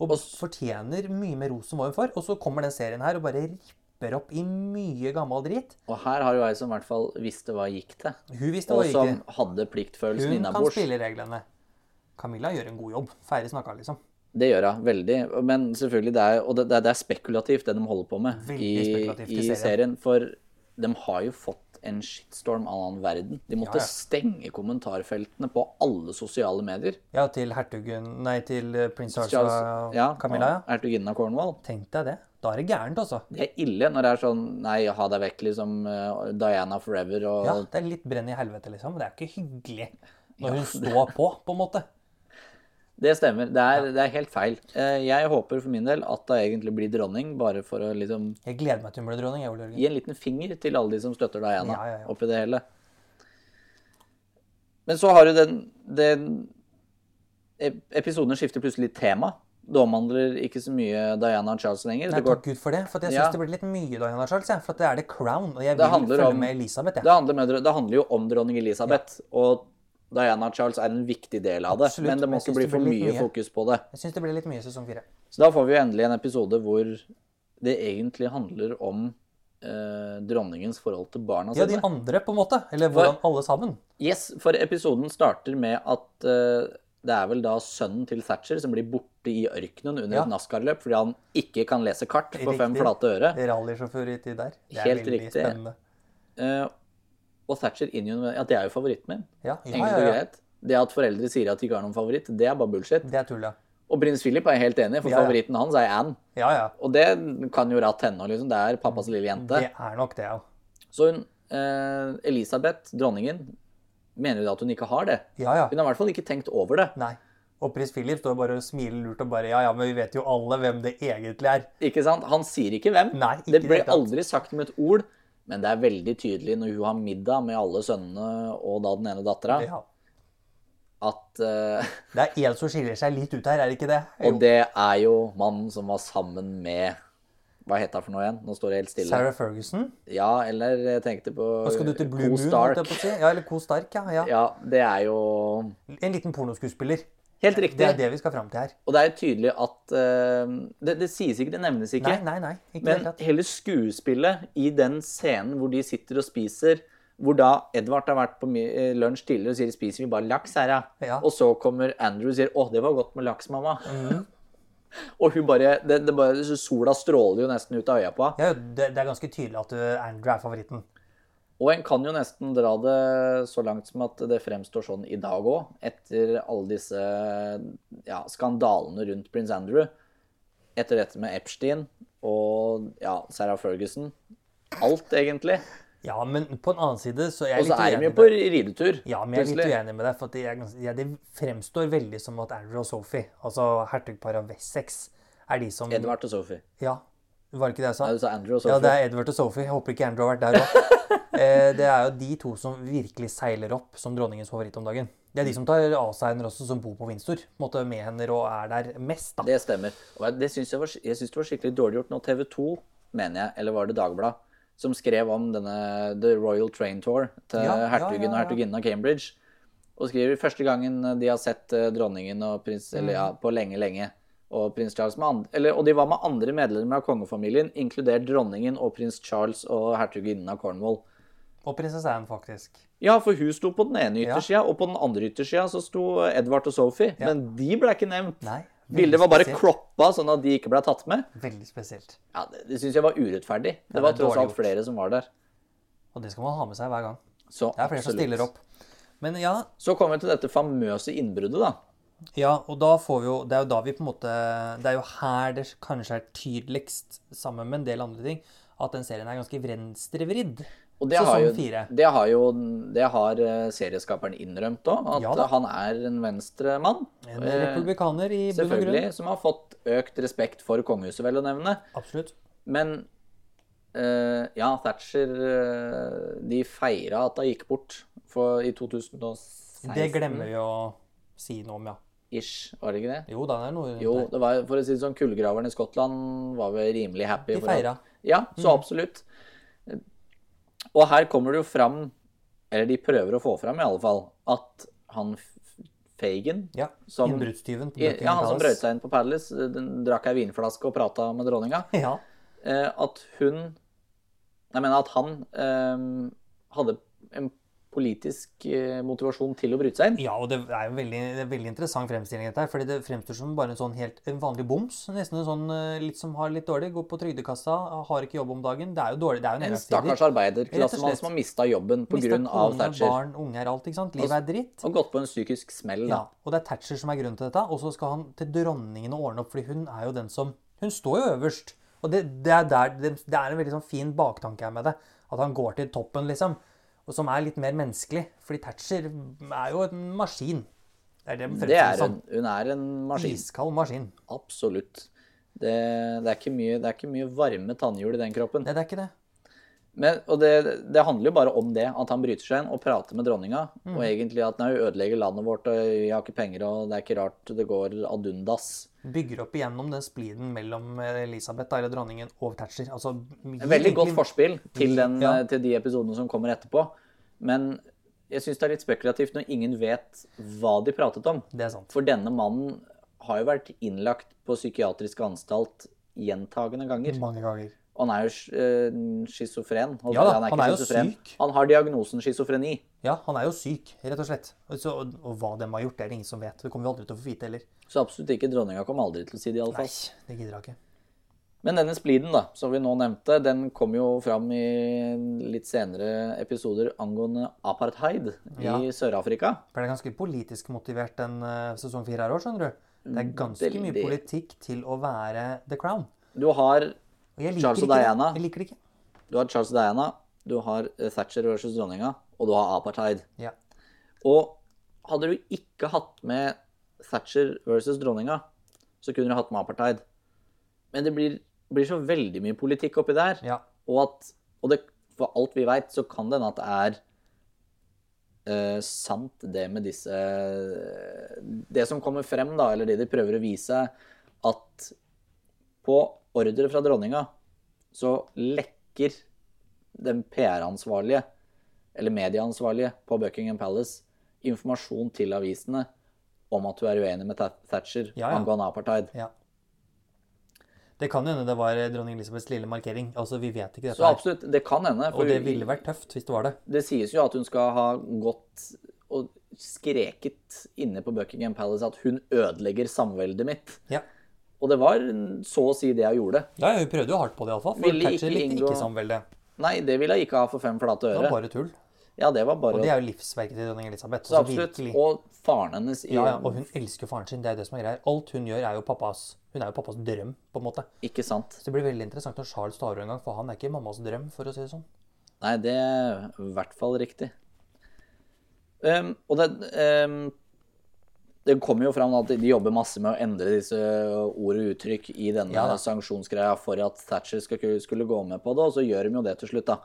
B: Og fortjener mye mer ros enn hva hun får. Og så kommer den serien her og bare ripper opp i mye gammel drit.
A: Og her har jo ei som i hvert fall visste hva gikk til,
B: Hun visste
A: og
B: hva
A: som
B: gikk i.
A: hadde pliktfølelsen
B: Hun kan
A: innabords.
B: spille reglene. Camilla gjør en god jobb. Ferdig snakka, liksom.
A: Det gjør hun veldig. Men selvfølgelig, det er, og det, det er- det er spekulativt, det de holder på med
B: Veldig
A: i,
B: spekulativt i
A: i
B: serien.
A: serien. For de har jo fått en shitstorm av en annen verden. De måtte
B: Ja, ja.
A: stenge kommentarfeltene på alle sosiale medier.
B: Ja, til hertugen Nei, til eh, prins Charles
A: Charles-
B: og
A: ja,
B: Camilla, ja.
A: og Ertuginnen av Cornwall.
B: Tenk deg det. Da er det gærent, altså.
A: Det er ille når det er sånn Nei, ha deg vekk, liksom. eh, Diana forever og
B: Ja, det er litt brenn i helvete, liksom. Det er ikke hyggelig når hun står på, på en måte.
A: Det stemmer. Det er, det er helt feil. Eh, Jeg håper for min del at det egentlig blir dronning, bare for å liksom
B: Jeg gleder meg til hun blir dronning. jeg, Ole Jørgen.
A: gi en liten finger til alle de som støtter Diana
B: Ja, ja, ja.
A: oppi det hele. Men så har du den, den ep- Episoden skifter plutselig tema. Det omhandler ikke så mye Diana og Charles lenger.
B: Nei,
A: det,
B: takk
A: går,
B: Gud for det, for jeg syns
A: Ja.
B: det blir litt mye Diana Charles. Jeg, for at det er The Crown, og jeg
A: Det
B: vil
A: handler
B: følge
A: om-
B: med Elisabeth.
A: det,
B: Jeg.
A: handler med, det handler jo om dronning Elisabeth, og Diana og Charles er en viktig del av det.
B: Absolutt,
A: men det
B: men
A: må ikke
B: jeg synes
A: bli
B: det
A: for
B: blir litt
A: mye
B: mye.
A: fokus på det.
B: jeg syns det blir litt mye i sesong fire.
A: Så da får vi jo endelig en episode hvor det egentlig handler om eh, dronningens forhold til barna
B: Ja,
A: sine.
B: de andre, på en måte. Eller hvordan alle sammen.
A: Yes, for episoden starter med at eh, det er vel da sønnen til Thatcher som blir borte i ørkenen under
B: Ja.
A: et NASCAR-løp fordi han ikke kan lese kart for fem
B: Riktig.
A: flate øre.
B: Rallysjåfør uti der. Det er
A: Helt
B: veldig
A: riktig.
B: spennende.
A: Eh, og Thatcher innrømmer at det er jo favoritten min.
B: Ja, ja,
A: Enkelt
B: ja,
A: og
B: ja.
A: greit. Det at foreldre sier at de ikke har noen favoritt, det er bare bullshit.
B: Det er tull, ja.
A: Og prins Philip er helt enig, for
B: Ja, ja.
A: favoritten hans er Anne.
B: Ja, ja.
A: Og det kan jo ratt henne. Liksom. Det er pappas lille jente.
B: Det er nok det, ja.
A: Så hun, eh, Elisabeth, dronningen, mener jo da at hun ikke har det.
B: Ja, ja.
A: Hun har i hvert fall ikke tenkt over det.
B: Nei. Og prins Philip står bare og smiler lurt og bare Ja, ja, men vi vet jo alle hvem det egentlig er.
A: Ikke sant? Han sier ikke hvem.
B: Nei, ikke
A: det
B: i
A: ble
B: det hele tatt.
A: aldri sagt med et ord, men det er veldig tydelig når hun har middag med alle sønnene og da den ene dattera,
B: Ja.
A: at
B: *laughs*
A: eh,
B: Det er en som skiller seg litt ut her, er det ikke det?
A: Og det er jo mannen som var sammen med Hva het hun for noe igjen? Nå står det helt stille.
B: Sarah Ferguson.
A: Ja, eller jeg tenkte på
B: Da skal du til Blue
A: Co
B: Moon,
A: Stark.
B: holdt jeg på å si. Ja, eller Co Stark, ja. ja.
A: Ja, det er jo
B: En liten pornoskuespiller.
A: Helt
B: Det
A: riktig.
B: er det vi skal fram til her.
A: Og det er jo tydelig at eh, det, det sies ikke, det nevnes ikke.
B: Nei, nei, nei. Ikke i det
A: Men
B: hele tatt.
A: hele skuespillet i den scenen hvor de sitter og spiser, hvor da Edvard har vært på mi- eh, lunsj tidligere og sier 'spiser vi bare laks her', ja.
B: Ja.
A: Og så kommer Andrew og sier 'å, det var godt med laks, mamma'. *laughs* og hun bare, det, det bare Sola stråler jo nesten ut av øya på henne.
B: Ja, det, det er ganske tydelig at uh, Andrew er favoritten.
A: Og en kan jo nesten dra det så langt som at det fremstår sånn i dag òg, etter alle disse ja, skandalene rundt prins Andrew. Etter dette med Epstein og ja, Sarah Ferguson. Alt, egentlig.
B: Ja, men på en annen side så er
A: Og
B: jeg
A: så
B: litt
A: er de jo
B: uenig
A: på
B: med
A: ridetur.
B: ja, men jeg er litt
A: plutselig.
B: uenig med deg, for at det, er gans- ja, det fremstår veldig som at Andrew og Sophie, altså hertugparet av Wessex, er de som
A: Edvard og Sophie.
B: Ja, var det ikke det jeg sa?
A: Nei, du sa Andrew og
B: Ja,
A: Sophie.
B: det er Edward og Sophie. Jeg håper ikke Andrew har vært der
A: *laughs*
B: òg. eh, det er jo de to som virkelig seiler opp som dronningens favoritt om dagen. Det er de som tar av seg henne også, som bor på Windsor. På en måte med henne og er der mest, da.
A: Det stemmer. Og jeg- det syns jeg, var, jeg synes det var skikkelig dårlig gjort når TV 2, mener jeg, eller var det Dagbladet, som skrev om denne The Royal Train Tour til
B: Ja, ja,
A: hertugen og
B: ja, ja.
A: hertuginnen av Cambridge. Og skriver første gangen de har sett eh, dronningen og prins, eller ja,
B: Mm.
A: på lenge, lenge, og prins Charles med andre, eller, Og de var med andre medlemmer av kongefamilien, inkludert dronningen og prins Charles og hertuginnen av Cornwall.
B: Og prinsesse Anne, faktisk.
A: Ja, for hun sto på den ene yttersida, og på den andre yttersida så sto Edvard og Sophie. Men de ble ikke nevnt.
B: Nei, veldig
A: Bildet var bare
B: spesielt.
A: kroppa sånn at de ikke ble tatt med.
B: Veldig spesielt.
A: Ja, Det, det syns jeg var urettferdig. Det, var
B: det er
A: tross
B: dårlig
A: alt
B: gjort.
A: flere som var der.
B: Og det skal man ha med seg hver gang.
A: Så,
B: Det er flere som
A: absolutt.
B: stiller opp. Men ja,
A: Så kommer vi til dette famøse innbruddet, da.
B: ja, og da får vi jo Det er jo da vi på en måte Det er jo her det kanskje er tydeligst, sammen med en del andre ting, at den serien er ganske venstrevridd.
A: Og det har,
B: Sesong
A: jo,
B: fire.
A: det har jo det har eh, serieskaperen innrømt òg, at
B: Ja da.
A: eh, han er en venstremann.
B: En
A: Eh,
B: republikaner i bunn og
A: Selvfølgelig,
B: grunn.
A: som har fått økt respekt for kongehuset, vel å nevne.
B: Absolutt.
A: Men eh, ja, Thatcher eh, De feira at hun gikk bort for, i 2016.
B: Det glemmer vi å si noe om, ja.
A: Ish, var det ikke det?
B: Jo da, det er noe rundt
A: Jo,
B: der.
A: det var, for å si det sånn, kullgraverne i Skottland var vel rimelig happy.
B: De Mm.
A: for at-
B: feira.
A: Ja, så absolutt. Og her kommer det jo fram, eller de prøver å få fram i alle fall, at han F- Fagin
B: Ja.
A: Som-
B: Innbruddstyven på
A: Ja, han som
B: Buckingham
A: brøt seg inn på Palace, den drakk ei vinflaske og prata med dronninga.
B: Palace. Ja.
A: eh, at hun Jeg mener at han eh, hadde en politisk eh, motivasjon til å bryte seg inn.
B: Ja, og det er jo veldig, det er veldig interessant fremstilling dette her, fordi det fremstår som bare en sånn helt en vanlig boms, nesten en sånn eh, litt som har litt dårlig, går på trygdekassa, har ikke jobb om dagen, det er jo dårlig, det er
A: En
B: jo nedgangstider.
A: stakkars arbeiderklassemann
B: slett.
A: som har mista jobben
B: Mistet
A: pga.
B: kone,
A: Thatcher.
B: barn, unge er alt, ikke sant? Livet er dritt.
A: Og gått på en psykisk smell, da.
B: Ja, og det er Thatcher som er grunnen til dette, og så skal han til dronningen og ordne opp, fordi hun er jo den som, hun står jo øverst, og det, det, er, der, det, det er en veldig sånn fin baktanke her med det, at han går til toppen liksom, og som er litt mer menneskelig, fordi Thatcher er jo en maskin. Det er det, sånn. den
A: Det
B: fremstår
A: er
B: som.
A: en, hun er en maskin.
B: Iskald maskin.
A: Absolutt. Det, det, er ikke mye, det er ikke mye varme tannhjul i den kroppen.
B: Nei, det er ikke det.
A: Men, og det, det handler jo bare om det, at han bryter seg inn og prater med dronninga.
B: Mm.
A: Og egentlig at nei, hun ødelegger landet vårt, og vi har ikke penger, og det er ikke rart det går ad undas.
B: Bygger opp igjennom den spliden mellom Elisabeth, da, eller dronningen, og Thatcher. Altså, gir
A: Veldig godt
B: egentlig-
A: forspill til, den,
B: Ja.
A: eh, til de episodene som kommer etterpå. Men jeg syns det er litt spekulativt når ingen vet hva de pratet om.
B: Det er sant.
A: For denne mannen har jo vært innlagt på psykiatrisk anstalt gjentagende ganger.
B: Mange ganger.
A: Og han er jo sch- eh, schizofren. Holdt
B: Ja da,
A: på å si,
B: han
A: ikke
B: er jo
A: schizofren.
B: syk.
A: Han har diagnosen schizofreni.
B: Ja, han er jo syk, rett og slett. Og, så, og, og hva de har gjort, det er det ingen som vet. Det kommer vi aldri til å få vite heller.
A: Så absolutt ikke. Dronninga kom aldri til å si det, i alle
B: Nei,
A: fall.
B: det gidder jeg ikke.
A: Men denne spliden, da, som vi nå nevnte, den kom jo fram i litt senere episoder angående apartheid
B: Ja.
A: i Sør-Afrika.
B: For det er ganske politisk motivert den eh, sesong fire her òg, skjønner du. Det er ganske mye
A: Veldig.
B: politikk til å være The Crown.
A: Du har,
B: Og jeg liker
A: Charles og
B: ikke det.
A: Diana.
B: Jeg liker det ikke.
A: du har Charles og Diana, du har eh, Thatcher versus dronninga, og du har apartheid.
B: Ja.
A: Og hadde du ikke hatt med Thatcher versus dronninga, så kunne du hatt med apartheid. Men det blir, blir så veldig mye politikk oppi der,
B: ja.
A: og at og det, for alt vi veit, så kan det hende at det er eh, sant, det med disse Det som kommer frem, da, eller det de prøver å vise, at på ordre fra dronninga så lekker den PR-ansvarlige, eller medieansvarlige, på Buckingham Palace informasjon til avisene om at du er uenig med Tha- Thatcher
B: Ja, ja.
A: angående apartheid.
B: Ja. Det kan jo hende det var eh, dronning Elisabeths lille markering. Altså, Vi vet ikke dette.
A: Så
B: her.
A: absolutt, det kan hende. for
B: Og det ville vært tøft hvis det var det.
A: Det sies jo at hun skal ha gått og skreket inne på Buckingham Palace at hun ødelegger samveldet mitt.
B: Ja,
A: Og det var så å si det hun gjorde.
B: ja Hun prøvde jo hardt på det, iallfall. For
A: Ville
B: Thatcher
A: ikke
B: likte
A: inngå-
B: ikke samveldet.
A: Nei, det ville hun ikke ha for fem flate
B: Det var
A: øre.
B: bare tull.
A: Ja, det var bare
B: Og det er jo livsverket til dronning Elisabeth.
A: så
B: Altså,
A: absolutt.
B: virkelig.
A: Og faren hennes i
B: Ja, ja, og hun elsker jo faren sin. det er jo det som er greia. Alt hun gjør, er jo pappas Hun er jo pappas drøm, på en måte.
A: Ikke sant.
B: Så det blir veldig interessant når Charles tar over en gang, for han er ikke mammas drøm, for å si det sånn.
A: Nei, det er i hvert fall riktig. Ehm, og det ehm, Det kommer jo fram at de jobber masse med å endre disse eh, ord og uttrykk i denne
B: Ja da.
A: sanksjonsgreia for at Thatcher skal, ku- skulle gå med på det, og så gjør de jo det til slutt, da.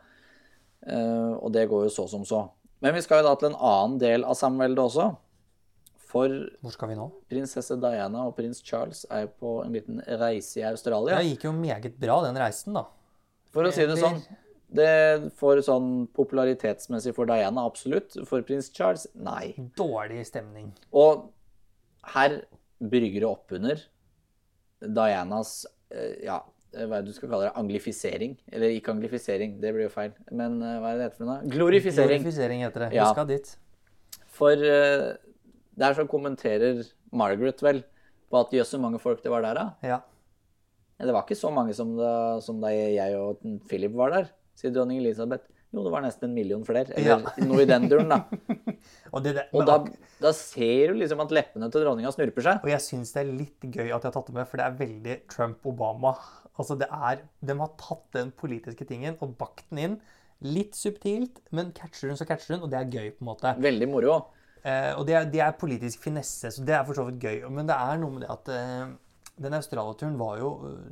A: Ehm, og det går jo så som så. Men vi skal jo da til en annen del av samveldet også. For
B: Hvor skal vi nå?
A: prinsesse Diana og prins Charles er på en liten reise i
B: Det
A: Australia.
B: gikk jo meget bra, den reisen, da.
A: For å si det
B: Eller-
A: sånn. Det får sånn popularitetsmessig for Diana, absolutt. For prins Charles, nei.
B: Dårlig stemning.
A: Og her brygger det opp under Dianas eh, ja, hva er det du skal kalle det? Anglifisering? Eller ikke anglifisering, det blir jo feil. Men eh, hva er det det heter for noe? Glorifisering.
B: Glorifisering heter det.
A: Ja.
B: Vi skal dit.
A: For eh, der så kommenterer Margaret vel på at jøss, så mange folk det var der, da.
B: Ja.
A: Det var ikke så mange som da, som da jeg og Philip var der, sier dronning Elisabeth. Jo, det var nesten en million flere.
B: Ja.
A: Eller *laughs* noe i den duren, da.
B: Og, det, det,
A: Og
B: men
A: da,
B: ak-
A: da ser du liksom at leppene til dronninga snurper seg.
B: og jeg syns det er litt gøy at jeg har tatt det med, for det er veldig Trump-Obama. Altså det er, De har tatt den politiske tingen og bakt den inn. Litt subtilt, men catcher hun, så catcher hun, og det er gøy. på en måte.
A: Veldig moro.
B: Eh, og det er, det er politisk finesse, så det er for så vidt gøy. Men det er noe med det at eh, den Australia-turen var jo eh,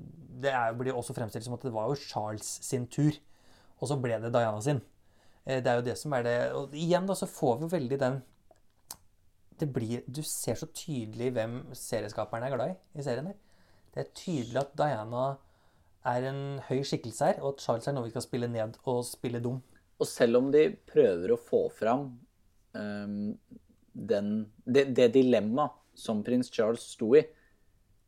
B: Det er, blir jo også fremstilt som at det var jo Charles sin tur, og så ble det Diana sin. Eh, det er jo det som er det Og igjen, da, så får vi veldig den det blir, Du ser så tydelig hvem serieskaperne er glad i i serien her. Det er tydelig at Diana er en høy skikkelse her, og at Charles er noe vi skal spille ned og spille dum.
A: Og selv om de prøver å få fram ehm, den, det, det dilemmaet som prins Charles sto i,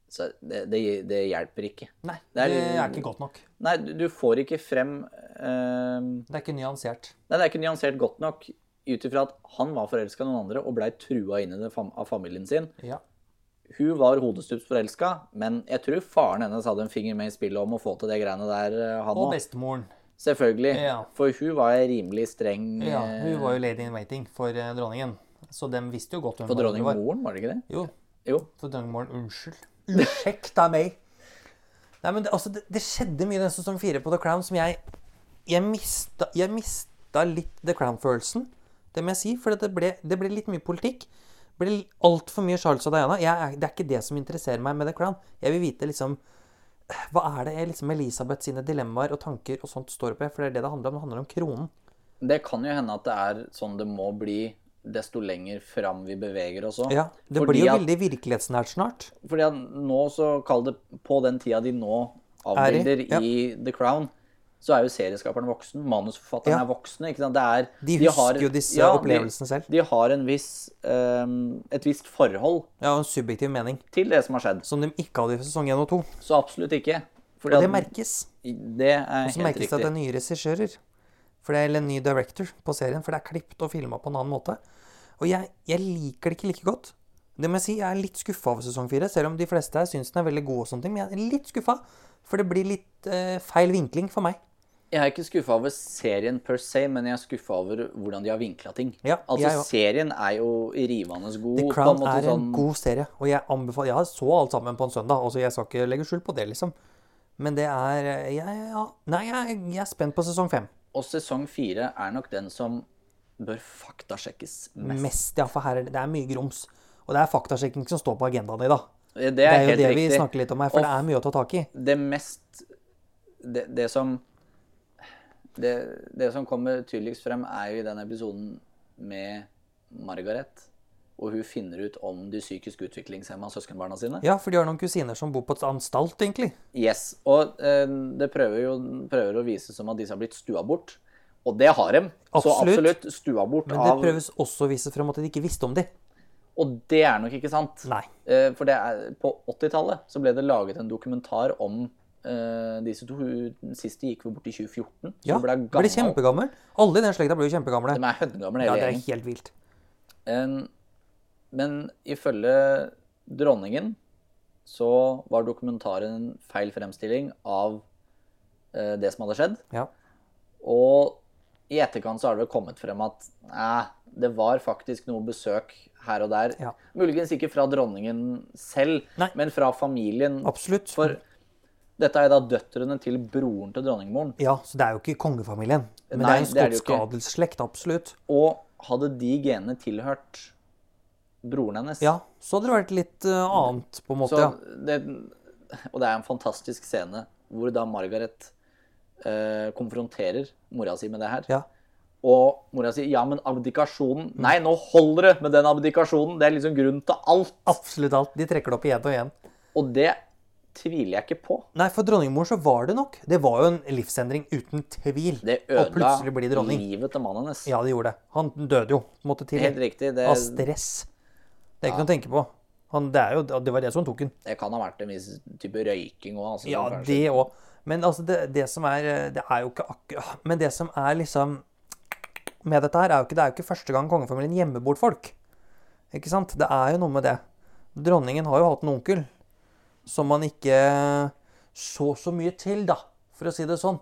A: så det, det, det hjelper ikke.
B: Nei,
A: Det er-
B: det er ikke godt nok.
A: Nei, du- du får ikke frem ehm,
B: Det er ikke nyansert.
A: Nei, det er ikke nyansert godt nok ut ifra at han var forelska i noen andre og blei trua inn i det fam av familien sin.
B: Ja.
A: Hun var hodestups forelska, men jeg tror faren hennes hadde en finger med i spillet om å få til det greiene der, eh, han
B: Og
A: òg.
B: bestemoren.
A: Selvfølgelig.
B: Ja.
A: For hun var ei rimelig streng
B: Ja,
A: eh,
B: hun var jo lady in waiting for eh, dronningen. Så dem visste jo godt hvem
A: for
B: hun var.
A: dronningmoren, var det ikke det?
B: Jo,
A: Jo.
B: for dronningmoren. Unnskyld. Unnskyld av meg. Nei, men det, altså, det, det skjedde mye i den sesong fire på The Crown som jeg Jeg mista, jeg mista litt The Crown-følelsen. Det må jeg si. For det ble, det ble litt mye politikk. Det ble altfor mye Charles og Diana. Jeg, er- det er ikke det som interesserer meg med The Crown. Jeg vil vite liksom Hva er det liksom Elisabeth sine dilemmaer og tanker og sånt står oppi? For det er det det handler om. Det handler om kronen.
A: Det kan jo hende at det er sånn det må bli desto lenger fram vi beveger oss òg.
B: Ja, det
A: fordi
B: blir jo
A: at-
B: veldig virkelighetsnært snart.
A: Fordi at nå, så kall det på den tida de nå
B: Er
A: avbilder
B: i, ja.
A: i The Crown, så er jo serieskaperen voksen, manusforfatteren
B: Ja.
A: er voksne. ikke sant? Det er,
B: De husker jo disse opplevelsene selv.
A: De, de har en viss, ehm, et visst forhold
B: Ja, og en subjektiv mening
A: til det som har skjedd.
B: som de ikke hadde i sesong 1 og 2.
A: Så absolutt ikke. Fordi
B: Og det
A: at
B: merkes.
A: det er
B: Så
A: helt
B: merkes det
A: riktig.
B: at det er nye regissører. For det er, eller en ny director på serien, for det er klippet og filma på en annen måte. Og jeg, jeg liker det ikke like godt. Det må jeg si, jeg er litt skuffa over sesong 4, selv om de fleste her syns den er veldig god. og sånne ting, Men jeg er litt skuffa, for det blir litt eh, feil vinkling for meg.
A: Jeg er ikke skuffa over serien per se, men jeg er skuffa over hvordan de har vinkla ting.
B: Ja,
A: altså,
B: jeg òg.
A: serien er jo rivende god.
B: The
A: på en
B: Crown
A: måte
B: er en
A: sånn-
B: god serie, og jeg anbefaler Jeg så alt sammen på en søndag, altså jeg skal ikke legge skjul på det, liksom. Men det er eh, jeg, ja, Nei, jeg, jeg er spent på sesong fem.
A: Og sesong fire er nok den som bør faktasjekkes mest.
B: Mest, ja, for her er det, det er mye grums. Og det er faktasjekking som står på agendaen i dag.
A: Det er,
B: Det er jo
A: helt
B: det
A: riktig.
B: vi snakker litt om her, for
A: Og
B: det er mye å ta tak i.
A: det mest Det, det som det, det som kommer tydeligst frem, er jo i den episoden med Margaret. Og hun finner ut om de psykisk utviklingshemma søskenbarna sine.
B: Ja, for de har noen kusiner som bor på et anstalt, egentlig.
A: Yes, Og eh, det prøver jo prøver å vise som at disse har blitt stua bort. Og det har dem. Så
B: Absolutt.
A: absolutt stua bort
B: Men det
A: av
B: prøves også å vise frem at de ikke visste om de.
A: Og det er nok ikke sant.
B: Nei.
A: Eh, For det er, på 80-tallet så ble det laget en dokumentar om eh, disse to. Hun siste gikk vel bort i 2014. Så
B: Ja,
A: hun ble
B: ble
A: gammel.
B: kjempegammel. Alle i den slekta ble jo kjempegamle.
A: De er høngamle,
B: Ja,
A: hele
B: det er
A: gjengen.
B: helt vilt.
A: En- Men ifølge dronningen så var dokumentaren en feil fremstilling av eh, det som hadde skjedd.
B: Ja.
A: Og i etterkant så har det vel kommet frem at eh, det var faktisk noe besøk her og der.
B: Ja.
A: Muligens ikke fra dronningen selv,
B: Nei.
A: men fra familien.
B: Absolutt.
A: For dette er da døtrene til broren til dronningmoren.
B: Ja, så det er jo ikke kongefamilien. Men
A: Nei,
B: det
A: det er
B: er
A: det
B: en
A: jo
B: skotsk
A: ikke.
B: adelsslekt, absolutt.
A: Og hadde de genene tilhørt broren hennes
B: Ja, så hadde det vært litt eh, annet, på en måte.
A: så
B: ja.
A: det, Og det er en fantastisk scene hvor da Margaret eh, konfronterer mora si med det her.
B: Ja. Mm.
A: Og mora sier ja, men abdikasjonen Nei, nå holder det med den abdikasjonen! Det er liksom grunnen til alt.
B: Absolutt alt. De trekker det opp igjen og igjen.
A: Og det tviler jeg ikke på.
B: Nei, for dronningmoren så var det nok. Det var jo en livsendring uten tvil.
A: Det
B: og
A: ødela
B: plutselig bli dronning.
A: livet til mannen hennes.
B: Ja, det gjorde det. Han døde jo, måtte til.
A: Helt riktig. Det,
B: Av stress. Det er ikke noe å tenke på. Han, det, er jo, det var det som tok han.
A: det kan ha vært en viss type røyking òg. Altså,
B: Ja,
A: kanskje.
B: det òg. Men altså, det, det som er eh, Det er jo ikke akkurat ah, Men det som er liksom med dette her, er jo ikke, det er jo ikke første gang kongefamilien gjemmer bort folk. Ikke sant? Det er jo noe med det. Dronningen har jo hatt en onkel som man ikke eh, så så mye til, da, for å si det sånn.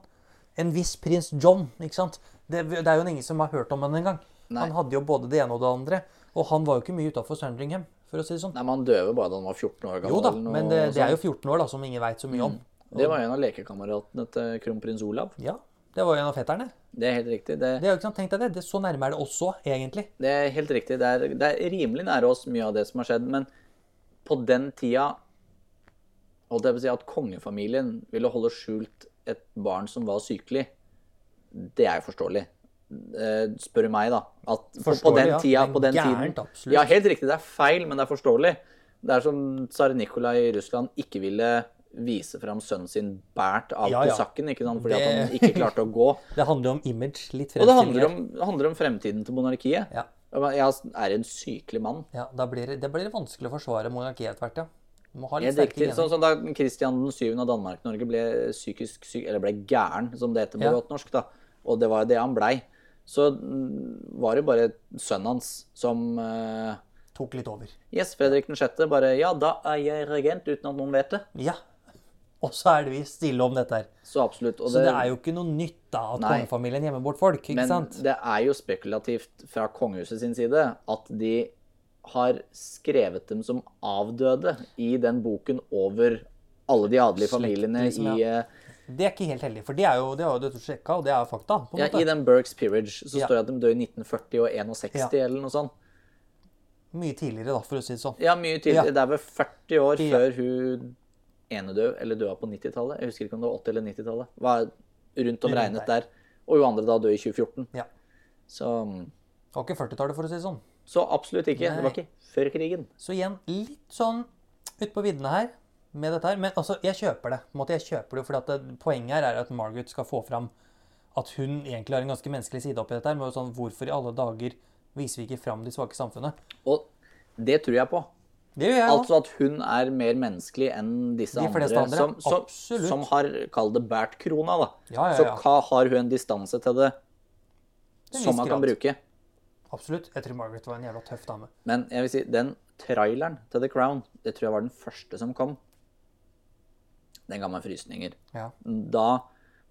B: En viss prins John, ikke sant. det, det er jo ingen som har hørt om han engang.
A: Nei.
B: Han hadde jo både det ene og det andre. Og han var jo ikke mye utafor Sandringham, for å si det sånn.
A: Nei, sånn. men han døde bare da han var 14 år gammel.
B: Jo da,
A: eller noe
B: men det, det
A: sånt.
B: er jo 14 år, da, som ingen veit så mye om.
A: Det var en av lekekameratene til kronprins Olav.
B: Ja, Det var jo en av fetterne.
A: Det er helt riktig. Det,
B: Det er jo ikke sant, tenk deg det. det. Så nærme er det oss òg, egentlig.
A: det er helt riktig. Det er, det er rimelig nære oss mye av det som har skjedd, men på den tida holdt jeg på å si at kongefamilien ville holde skjult et barn som var sykelig. Det er jo forståelig. Eh, Spør du meg, da. At på- på
B: Forståelig,
A: den
B: ja,
A: tida,
B: men
A: på den
B: gærent,
A: tiden
B: absolutt.
A: Ja, helt riktig. Det er feil, men det er forståelig. Det er som tsar Nikolai i Russland ikke ville vise fram sønnen sin båret av
B: Ja, ja.
A: kosakken, ikke sant? fordi at han
B: Det-
A: ikke klarte å
B: *laughs*
A: gå.
B: Det handler om image. Litt
A: Og det handler om, det handler om fremtiden til monarkiet.
B: Ja.
A: Jeg er en sykelig mann.
B: Ja, da blir det, det blir vanskelig å forsvare monarkiet etter hvert, ja. Du må ha litt
A: Helt
B: sterke
A: riktig. Sånn
B: gener.
A: som da Kristian 7. av Danmark-Norge ble psykisk syk, eller ble gæren, som det heter på
B: Ja.
A: godt norsk, da. og det var jo det han blei, så mm, var det bare sønnen hans som eh,
B: Tok litt over.
A: Yes, Fredrik 6. bare Ja, da er jeg regent, uten at noen vet det.
B: Ja. Og så er det vi stille om dette her.
A: Så absolutt. Og
B: Så det er jo ikke noe nytt da at
A: Nei.
B: kongefamilien gjemmer bort folk, ikke
A: Men
B: sant?
A: det er jo spekulativt fra kongehuset sin side at de har skrevet dem som avdøde i den boken over alle de adelige
B: Slekt,
A: familiene
B: liksom,
A: i, eh,
B: Det er ikke helt heldig, for det er jo det har jo du sjekka, og det er fakta. på en
A: ja, i
B: måte.
A: den Burke's Peerage. Så
B: Ja.
A: står det at de døde i 1940 og 61
B: Ja.
A: eller noe sånt.
B: Mye tidligere, da, for å si det sånn.
A: Ja, mye
B: Ja.
A: tidligere. Det er vel 40 år
B: Ja.
A: før hun ene døde, eller døde på 90-tallet. Jeg husker ikke om det var 80- eller 90-tallet. Var rundt om
B: Rundt
A: regnet der. Og hun andre da døde i 2014.
B: Ja.
A: Så,
B: Det var ikke 40-tallet, for å si det sånn.
A: så absolutt ikke. Det
B: Nei.
A: var ikke før krigen.
B: Så igjen, litt sånn ut på viddene her med dette her. Men altså, jeg kjøper det. På en måte, jeg kjøper det, fordi at det, Poenget her er at Margaret skal få fram at hun egentlig har en ganske menneskelig side oppi dette. her, med sånn, Hvorfor i alle dager viser vi ikke fram de svake i samfunnet?
A: Og det tror jeg på.
B: Det gjør jeg jo.
A: Altså at hun er mer menneskelig enn disse
B: De
A: andre,
B: fleste andre,
A: som, som,
B: absolutt.
A: som har kalt det bært krona. da.
B: Ja, ja,
A: Så
B: ja.
A: hva har hun en distanse til det
B: Til en
A: som
B: viss
A: man kan
B: grad.
A: bruke?
B: Absolutt. Jeg tror Margaret var en jævla tøff dame.
A: Men jeg vil si, den traileren til The Crown, det tror jeg var den første som kom. Den ga meg frysninger.
B: Ja.
A: Da,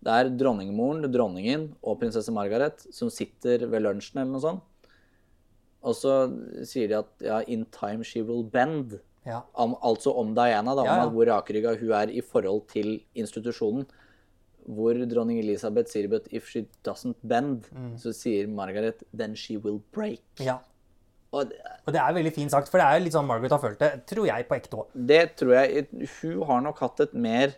A: det er dronningmoren, dronningen og prinsesse Margaret som sitter ved lunsjen eller noe sånt. Og så sier de at ja, in time she will bend.
B: ja.
A: om, altså om Diana, da,
B: Ja, ja.
A: om at hvor rakrygga hun er i forhold til institusjonen. Hvor dronning Elisabeth sier but if she doesn't bend,
B: Mm.
A: så sier Margaret then she will break.
B: ja.
A: Og det-
B: Og det er veldig fint sagt, for det er jo litt sånn Margaret har følt det, tror jeg, på ekte òg.
A: det tror jeg Hun har nok hatt et mer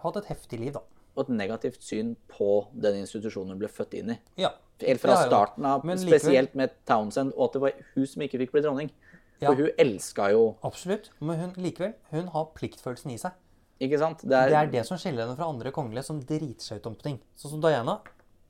B: Hatt et heftig liv, da.
A: og et negativt syn på den institusjonen hun ble født inn i.
B: Ja.
A: Helt
B: Det
A: fra
B: har hun.
A: starten av,
B: Men likevel-
A: spesielt med Townsend, og at det var hun som ikke fikk bli dronning.
B: Ja.
A: For hun elska jo
B: Absolutt. Men hun, likevel, hun har pliktfølelsen i seg.
A: Ikke sant?
B: Det er det som skiller henne fra andre kongelige som driter seg ut om ting. Sånn som Diana.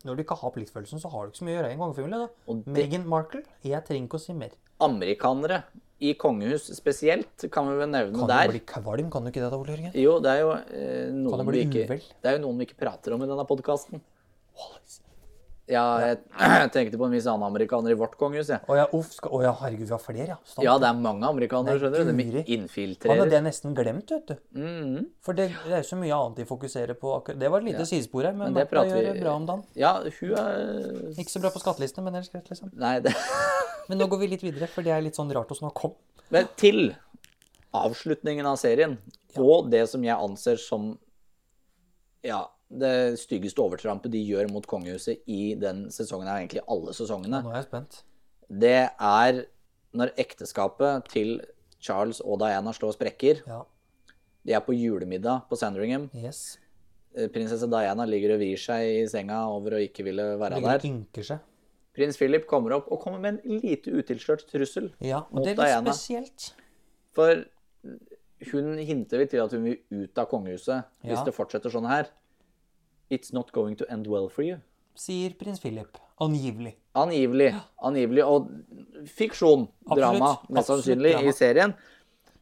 B: Når du ikke har pliktfølelsen, så har du ikke så mye å gjøre i en kongefamilie. da.
A: Og det-
B: Meghan Markle, jeg trenger ikke å si mer.
A: amerikanere i kongehus spesielt, kan vi vel nevne
B: Kan
A: der.
B: du bli kvalm? Kan du ikke det, da, Ole Jørgen?
A: Jo, det er jo, eh, noen
B: det
A: vi
B: bli
A: ikke,
B: uvel?
A: det er jo noen vi ikke prater om i denne podkasten.
B: Wallace.
A: Ja, jeg, *clears throat* jeg tenkte på en viss annen amerikaner i vårt kongehus. Jeg.
B: Å ja, uff, skal... Å ja, herregud, vi har flere, ja. Stant.
A: Ja, det er mange amerikanere,
B: Nei,
A: skjønner du. De
B: guri.
A: infiltrerer.
B: Hadde det nesten glemt, vet du.
A: Mhm.
B: For det, det er jo så mye annet de fokuserer på. akkurat. Det var et lite sidespor her,
A: Men
B: men,
A: det
B: Martha
A: prater
B: gjør
A: vi-
B: det bra om dagen.
A: Ja, hun er
B: Ikke så bra på skattelistene, men ellers greit, liksom.
A: Nei, det
B: Men nå går vi litt videre, for det er litt sånn rart å snakke om.
A: Men til avslutningen av serien, og det som jeg anser som ja, det styggeste overtrampet de gjør mot kongehuset i den sesongen, er egentlig alle sesongene.
B: Nå er jeg spent.
A: det er når ekteskapet til Charles og Diana slår sprekker.
B: Ja.
A: De er på julemiddag på Sandringham.
B: Yes.
A: Eh, Prinsesse Diana ligger og vrir seg i senga over å ikke ville være
B: Ligger og
A: der.
B: ynker seg.
A: Prins Philip kommer opp og kommer med en lite utilslørt trussel.
B: Ja, og
A: Mot
B: det er litt
A: Diana.
B: spesielt.
A: For hun hinter litt til at hun vil ut av kongehuset hvis
B: Ja.
A: det fortsetter sånn her. It's not going to end well for you.
B: sier prins Philip. Angivelig.
A: Angivelig. Angivelig. Og fiksjon.
B: Absolutt.
A: Drama, mest
B: Absolutt
A: sannsynlig,
B: drama.
A: i serien.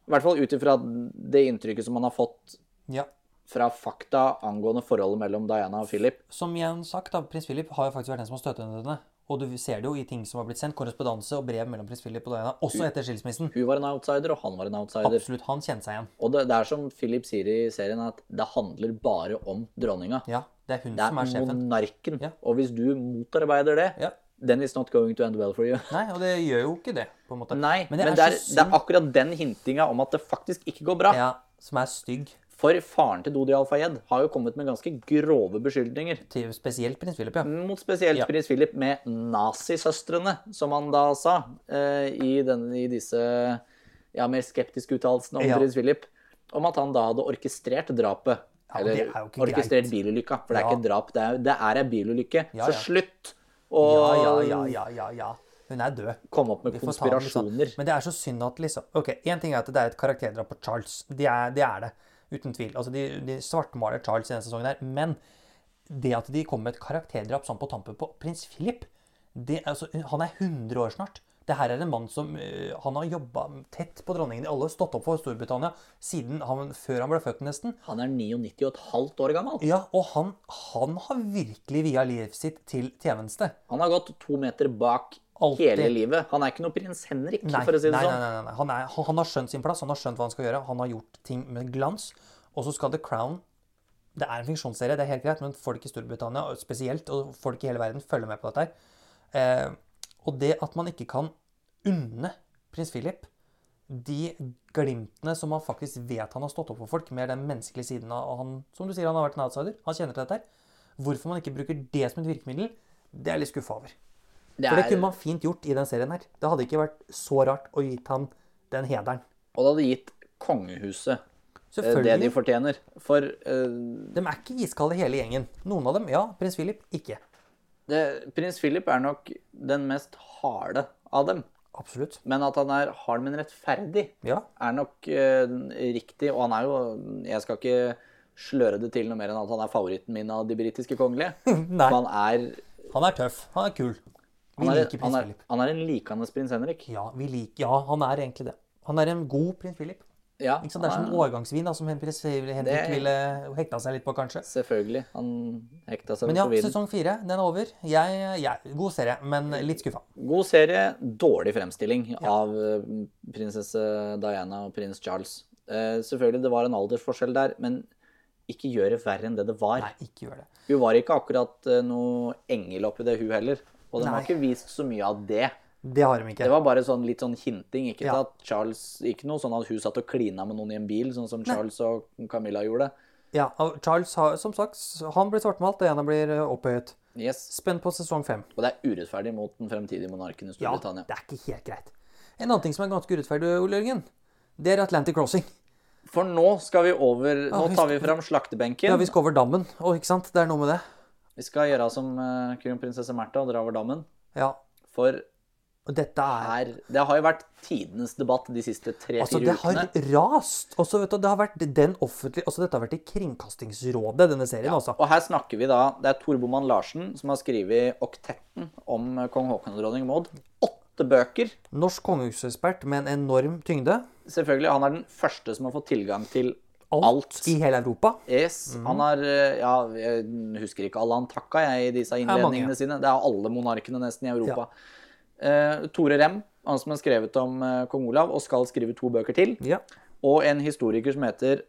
A: I hvert fall ut ifra det inntrykket som man har fått
B: Ja.
A: fra fakta angående forholdet mellom Diana og Philip.
B: Som igjen sagt, da, prins Philip har jo faktisk vært den som har støtet henne. Og du ser det jo i ting som har blitt sendt, korrespondanse og brev mellom prins Philip og Diana, også etter skilsmissen.
A: Hun var en outsider, og han var en outsider.
B: Absolutt. Han kjente seg igjen.
A: Og det, det er som Philip sier i serien, at det handler bare om dronninga.
B: Ja, det er hun
A: Det
B: som er
A: er
B: sjefen.
A: monarken.
B: Ja.
A: Og hvis du motarbeider det,
B: Ja.
A: then it's not going to end well for you.
B: Nei, og det gjør jo ikke det, på en måte.
A: *laughs* Nei, men,
B: det
A: det, er,
B: så
A: det er
B: synd-
A: akkurat den hintinga om at det faktisk ikke går bra.
B: ja, som er stygg.
A: For faren til Dodi Al-Fayed har jo kommet med ganske grove beskyldninger.
B: Til spesielt prins Philip, ja.
A: Mot spesielt
B: Ja.
A: prins Philip med nazisøstrene, som han da sa eh, i, denne, i disse ja, mer skeptiske uttalelsene om
B: Ja.
A: prins Philip. Om at han da hadde orkestrert drapet.
B: Ja, men det
A: eller
B: er jo ikke
A: orkestrert
B: greit.
A: bilulykka. For det er
B: Ja.
A: ikke drap, det er, det er ei bilulykke.
B: Ja,
A: Så
B: ja.
A: slutt å
B: Ja, ja, ja, ja, ja, ja. Hun er død.
A: komme opp med
B: Vi får ta den litt sånn.
A: konspirasjoner.
B: Men det er så synd at liksom Ok, én ting er at det er et karakterdrap på Charles. Det er det. Er det. Uten tvil. Altså, de, de svartmaler Charles i denne sesongen her. Men det at de kommer med et karakterdrap sånn på tampen på prins Philip det, er altså, Han er 100 år snart. Det her er en mann som øh, han har jobba tett på dronningen i alle, stått opp for Storbritannia siden han, før han ble født, nesten.
A: Han er 99 og et halvt år gammel.
B: Ja, og han, han har virkelig via livet sitt til tjeneste.
A: Han har gått to meter bak
B: Alltid.
A: hele livet. Han er ikke noe prins Henrik,
B: Nei,
A: for å si det
B: nei,
A: sånn.
B: nei, nei, nei. Han, er, han, han har skjønt sin plass, han har skjønt hva han skal gjøre. Han har gjort ting med glans. Og så skal The Crown Det er en funksjonsserie, det er helt greit, men folk i Storbritannia og spesielt, og folk i hele verden, følger med på dette her. Eh, og det at man ikke kan unne prins Philip de glimtene som han faktisk vet han har stått opp for folk, med den menneskelige siden av han Som du sier, han har vært en outsider. Han kjenner til dette her. Hvorfor man ikke bruker det som et virkemiddel, det er jeg litt skuffa over.
A: Det
B: For det
A: er,
B: kunne man fint gjort i den serien her. Det hadde ikke vært så rart å gitt han den hederen.
A: og Eh, det hadde gitt kongehuset eh, det de
B: Selvfølgelig.
A: fortjener. For eh,
B: De er ikke iskalde hele gjengen. Noen av dem, ja. Prins Philip, ikke.
A: det, prins Philip er nok den mest harde av dem.
B: Absolutt.
A: Men at han er hard, men rettferdig,
B: Ja.
A: er nok eh, riktig. Og han er jo Jeg skal ikke sløre det til noe mer enn at han er favoritten min av de britiske kongelige.
B: *laughs* Nei,
A: Han er,
B: han er tøff. Han er kul. Vi
A: han er,
B: liker
A: han
B: prins
A: er,
B: Philip.
A: han er en likende prins Henrik.
B: Ja, vi liker, ja, han er egentlig det. Han er en god prins Philip.
A: Ja,
B: Ikke sant? Det er som
A: han
B: en årgangsvin da, som prins Henrik
A: Det-
B: ville hekta seg litt på, kanskje.
A: Selvfølgelig. Han hekta seg
B: Men
A: vel
B: ja, sånn-
A: på viden.
B: sesong fire, den er over. Jeg, jeg, god serie, men litt skuffa.
A: God serie, dårlig fremstilling av eh, prinsesse Diana og prins Charles. Eh, selvfølgelig, det var en aldersforskjell der, men ikke gjør det verre enn det det var.
B: Nei, ikke gjør det.
A: Hun var ikke akkurat eh, noe engel oppi det, hun heller. Og den har
B: Nei.
A: ikke vist så mye av det.
B: Det har de ikke.
A: Det var bare sånn litt sånn hinting. Ikke
B: Ja.
A: at Charles, ikke noe sånn at hun satt og klina med noen i en bil, sånn som Charles og Camilla gjorde.
B: Ja, og Charles har, som sagt, han blir svartmalt, og Diana blir eh, opphøyet.
A: Yes.
B: Spent på sesong fem.
A: Og det er urettferdig mot den fremtidige monarken i
B: Ja,
A: Storbritannia.
B: det er ikke helt greit. En annen ting som er ganske urettferdig, Ole Jørgen, det er Atlantic Crossing.
A: For nå skal vi over Nå tar
B: vi skal-
A: vi fram slaktebenken.
B: Ja, vi skal over dammen, og ikke sant? Det er noe med det.
A: Vi skal gjøre som eh, kronprinsesse Märtha og dra over dammen.
B: Ja,
A: For
B: og dette er...
A: her Det har jo vært tidenes debatt de siste tre-fire
B: Altså, det har
A: ukene.
B: rast. Og så, vet du, det har vært den offentlige... Altså, dette har vært i Kringkastingsrådet, denne serien, altså.
A: Og her snakker vi da Det er Tor Boman Larsen som har skrevet Oktetten om eh, kong Haakon og dronning Maud. Åtte bøker.
B: Norsk kongehusekspert med en enorm tyngde.
A: Selvfølgelig, han er den første som har fått tilgang til
B: Alt,
A: alt.
B: i hele Europa.
A: Yes,
B: Mhm.
A: Han har eh, Ja, jeg husker ikke alle han takka, jeg, i disse
B: mange,
A: innledningene
B: ja.
A: sine. Det er alle monarkene nesten i Europa. Eh, Tore Rem, han som har skrevet om eh, kong Olav, og skal skrive to bøker til.
B: Ja.
A: Og en historiker som heter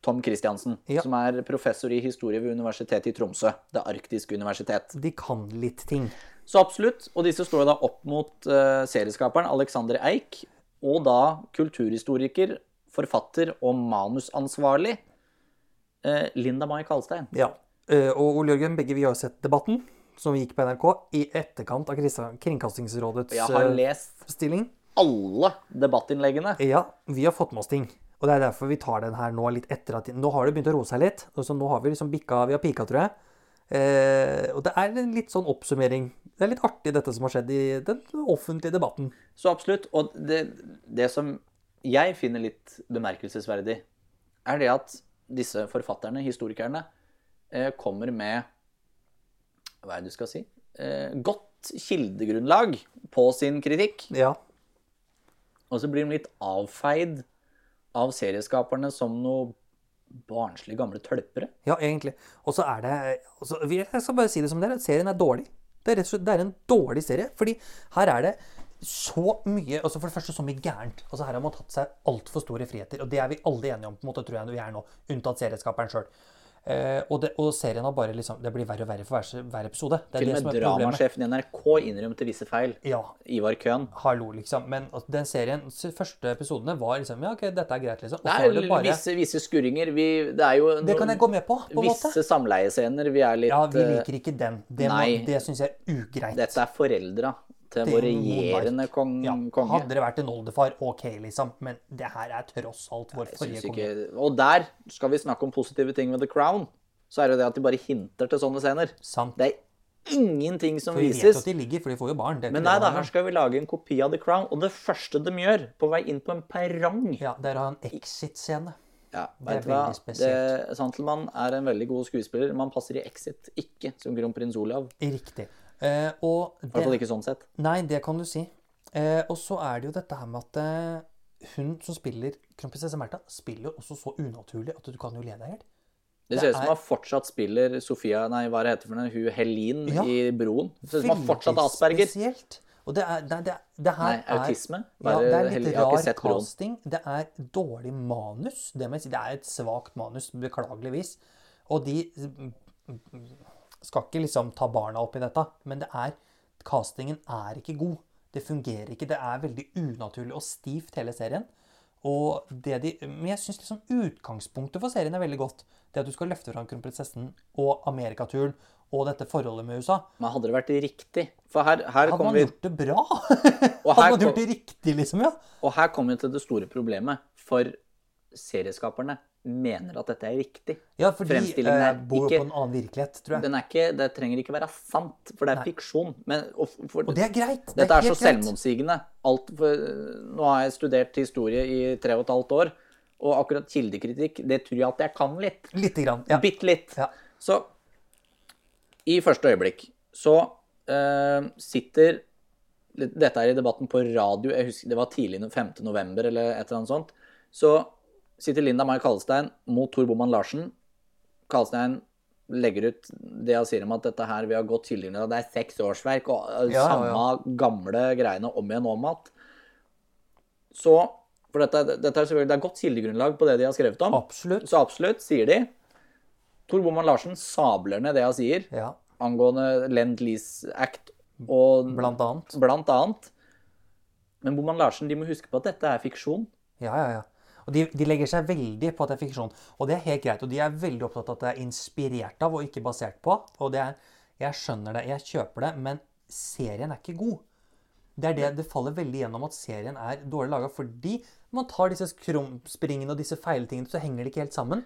A: Tom Christiansen,
B: Ja.
A: som er professor i historie ved Universitetet i Tromsø. Det arktiske universitet.
B: De kan litt ting.
A: Så absolutt. Og disse står jo da opp mot eh, serieskaperen Alexander Eik, og da kulturhistoriker, forfatter og manusansvarlig eh, Linda Mai Kalstein.
B: Ja. eh, Og Ole Jørgen, begge vi har jo sett debatten som gikk på NRK i etterkant av Krista- Kringkastingsrådets
A: Jeg har
B: eh,
A: lest
B: stilling.
A: alle debattinnleggene.
B: Ja, vi har fått med oss ting. Og det er derfor vi tar den her nå litt etter at Nå har det begynt å roe seg litt. Og så nå har vi liksom bikka Vi har pika, tror jeg. Eh, og det er en litt sånn oppsummering. Det er litt artig, dette som har skjedd i den offentlige debatten.
A: Så absolutt. Og det, det som jeg finner litt bemerkelsesverdig, er det at disse forfatterne, historikerne, eh, kommer med Hva er det du skal si? Eh, godt kildegrunnlag på sin kritikk.
B: Ja.
A: Og så blir de litt avfeid av serieskaperne som noe barnslige gamle tølpere.
B: Ja, egentlig. Og så er det og så- vi- Jeg skal bare si det som det er. Serien er dårlig. Det er rett og slett det er en dårlig serie. Fordi her er det så mye altså For det første så mye gærent. Altså Her har man tatt seg altfor store friheter. Og det er vi alle enige om, på en måte, tror jeg vi er nå. Unntatt serieskaperen sjøl. Eh, og, det- og serien har bare liksom Det blir verre og verre for hver, hver episode. Det er
A: Til
B: det
A: og
B: som
A: med
B: er problemet.
A: dramasjefen i NRK innrømte visse feil.
B: Ja,
A: Ivar Køhn.
B: hallo, liksom. Men altså, den serien, s- første episodene var liksom Ja, OK, dette er greit, liksom. Og
A: Det
B: så
A: er
B: er det bare
A: visse, visse skurringer. Vi, det er jo
B: Det kan jeg gå med på, på en måte.
A: visse samleiescener. Vi er litt
B: Ja, vi
A: eh,
B: liker ikke den. Det, må-
A: nei.
B: det syns jeg er ugreit.
A: Dette er foreldra til
B: Det er
A: vår
B: en monark.
A: regjerende kong,
B: ja,
A: konge.
B: Hadde det vært en oldefar, ok, liksom. Men det her er tross alt vår
A: Jeg
B: forrige
A: syns
B: konge.
A: ikke Og der skal vi snakke om positive ting ved The Crown. Så er det jo det at de bare hinter til sånne scener.
B: Sant.
A: Det er ingenting som
B: Vi vet jo
A: vises.
B: at de ligger, for de får jo barn. Det er
A: Men
B: ikke
A: nei
B: det
A: da,
B: han
A: her
B: gjør.
A: skal vi lage en kopi av The Crown. Og det første de gjør på vei inn på en perrong
B: Ja, det er å ha en exit-scene.
A: ja,
B: er
A: vet du hva?
B: veldig spesielt.
A: Det- Santelmann er en veldig god skuespiller. Man passer i Exit ikke som kronprins Olav. I
B: Riktig. Eh, og
A: hvert fall
B: det,
A: ikke sånn sett.
B: Nei, det kan du si. Eh, og så er det jo dette her med at eh, hun som spiller kronprinsesse Märtha, spiller jo også så unaturlig at du kan jo le deg i hjel.
A: Det ser ut som han fortsatt spiller Sofia Nei, hva heter for noe? Hun Helin
B: Ja.
A: i Broen. Det ser ut som han fortsatt har Asperger.
B: Spesielt. Og det er Nei, det, er- det her
A: Nei, autisme.
B: er ja, det er
A: Hel-
B: litt
A: jeg har ikke
B: rar
A: sett Broen.
B: casting. Det er dårlig manus. Det, må jeg si. det er et svakt manus, beklageligvis. Og de mm, mm, skal ikke liksom ta barna opp i dette, men det er Castingen er ikke god. Det fungerer ikke. Det er veldig unaturlig og stivt, hele serien. Og det de, men jeg syns liksom utgangspunktet for serien er veldig godt. Det at du skal løfte fram kronprinsessen og amerikaturen og dette forholdet med USA.
A: Men hadde det vært riktig? For her, her
B: Hadde
A: kommer
B: man
A: vi
B: gjort det bra?
A: her
B: Hadde man
A: kom-
B: gjort det riktig, liksom? Ja.
A: Og her kommer vi til det store problemet. For serieskaperne mener at dette er riktig.
B: Ja, for de
A: Fremstillingen
B: eh,
A: er
B: bor jo
A: ikke-
B: på en annen virkelighet, tror jeg.
A: Den er ikke, det trenger ikke være sant, for det er fiksjon. Men, og, f- for,
B: Og det er greit.
A: dette er så
B: helt greit.
A: selvmotsigende. Alt for, nå har jeg studert historie i tre og et halvt år, og akkurat kildekritikk, det tror jeg at jeg kan litt.
B: Lite grann. Ja.
A: Bitte litt.
B: Ja.
A: Så i første øyeblikk så eh, sitter Dette er i debatten på radio, jeg husker det var tidlig no- 5. november eller et eller annet sånt. Så sitter Linda Mai Kalstein mot Tor Boman Larsen. Kalstein legger ut det han sier om at dette her vi har gått tidligere, det er seks årsverk og eh,
B: Ja, ja,
A: samme
B: ja.
A: gamle greiene om igjen og om igjen. Så For dette, dette er selvfølgelig, det er godt kildegrunnlag på det de har skrevet om.
B: Absolutt.
A: Så absolutt, sier de. Tor Boman Larsen sabler ned det han sier
B: Ja,
A: angående Lend Lease Act og
B: blant annet.
A: blant annet. Men Boman Larsen, de må huske på at dette er fiksjon.
B: Ja, ja, ja. Og de, de legger seg veldig på at det er fiksjon. Og det er helt greit. Og de er veldig opptatt av at det er inspirert av og ikke basert på. Og det er, jeg skjønner det, jeg kjøper det, men serien er ikke god. Det er det det faller veldig gjennom at serien er dårlig laga fordi man tar disse krumspringene og disse feiltingene, så henger de ikke helt sammen.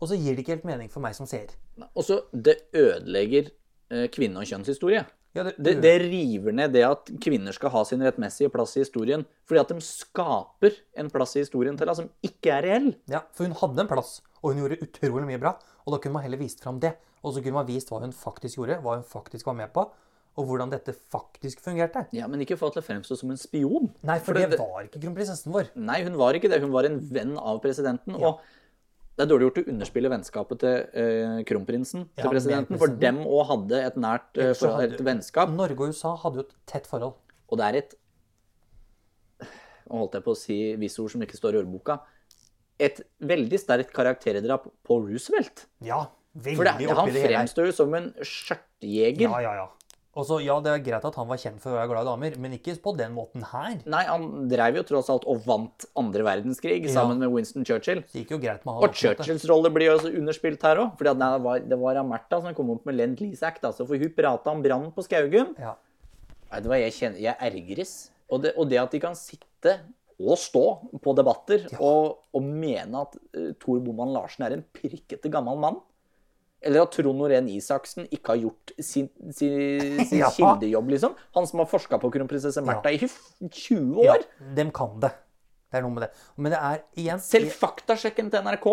B: Og så gir det ikke helt mening for meg som seer.
A: Og så, det ødelegger eh, kvinne- og kjønnshistorie.
B: Ja, det,
A: Det, det river ned det at kvinner skal ha sin rettmessige plass i historien, fordi at de skaper en plass i historien til deg som ikke er reell.
B: Ja, for hun hadde en plass, og hun gjorde utrolig mye bra. Og da kunne man heller vist fram det. Og så kunne man vist hva hun faktisk gjorde, hva hun faktisk var med på, og hvordan dette faktisk fungerte.
A: Ja, Men ikke få til å fremstå som en spion.
B: Nei, for
A: Fordi
B: det var ikke kronprinsessen vår.
A: Nei, hun var ikke det. Hun var en venn av presidenten. Og det er dårlig gjort å underspille vennskapet til eh, kronprinsen
B: Ja,
A: til
B: med
A: presidenten, for
B: presidenten.
A: dem òg hadde et nært eh,
B: så
A: forhold, et
B: hadde-
A: vennskap.
B: Norge og USA hadde jo et tett forhold.
A: Og det er et Nå holdt jeg på å si visse ord som ikke står i ordboka. Et veldig sterkt karakterdrap på Roosevelt.
B: Ja, veldig
A: For det, han
B: oppi det hele. her.
A: fremstår jo som en skjørtjeger.
B: Ja, ja, ja. Og så, ja, det er greit at han var kjent for å være glad i damer, men ikke på den måten her.
A: Nei, han dreiv jo tross alt og vant andre verdenskrig sammen med Winston Churchill.
B: Det gikk jo greit med han.
A: Og
B: på en måte.
A: Churchills rolle blir jo også underspilt her òg. For det var, det var Amerta som kom opp med Lend Lease Act. Altså, for hun prata om brann på Skaugum.
B: Ja.
A: Vet du hva, jeg kjenner Jeg ergres. Og det, og det at de kan sitte og stå på debatter og, og mene at uh, Tor Boman Larsen er en pirkete gammel mann. Eller at Trond Norén Isaksen ikke har gjort sin, sin, sin
B: Ja.
A: kildejobb, liksom. Han som har forska på kronprinsesse Märtha i hyff- 20
B: ja,
A: år.
B: dem kan det. Det er noe med det. Men det er igjen
A: Selv faktasjekken til NRK,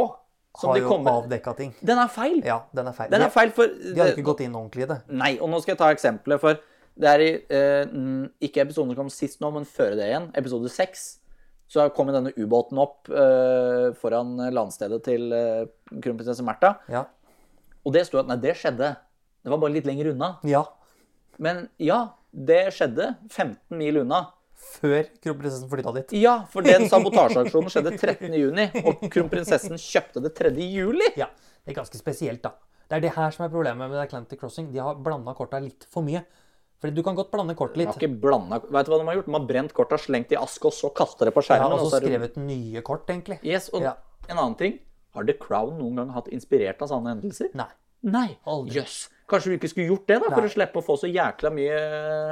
A: som
B: har
A: de
B: jo
A: kom med,
B: avdekka ting.
A: den er feil.
B: Ja, den er feil.
A: Den er feil for eh,
B: De har jo ikke gått inn ordentlig i det.
A: Nei, og nå skal jeg ta eksempelet, for det er i eh, mm, Ikke episoden som kom sist nå, men før det igjen, episode seks, så kom jo denne ubåten opp eh, foran landstedet til eh, kronprinsesse Märtha.
B: Ja.
A: Og det sto at nei, det skjedde. Det var bare litt lenger unna.
B: Ja.
A: Men ja, det skjedde 15 mil unna.
B: Før kronprinsessen flytta dit.
A: Ja, for den sabotasjeaksjonen skjedde 13. juni, og kronprinsessen kjøpte det 3. juli.
B: Ja, Det er ganske spesielt, da. Det er det her som er problemet med Atlantic Crossing. De har blanda korta litt for mye. Fordi du kan godt blande kort
A: De
B: litt.
A: har ikke blandet, vet du hva de har gjort? De har brent korta, slengt det i ask, og så kastet det på
B: Ja,
A: skjermen.
B: og
A: og
B: så
A: så er altså, det-
B: skrevet nye kort, egentlig.
A: Yes, og
B: Ja.
A: en annen ting. Har The Crown noen gang hatt inspirert av sånne hendelser?
B: Nei.
A: Nei.
B: Aldri.
A: Jøss. Kanskje vi ikke skulle gjort det, da, for
B: Nei.
A: å slippe å få så jækla mye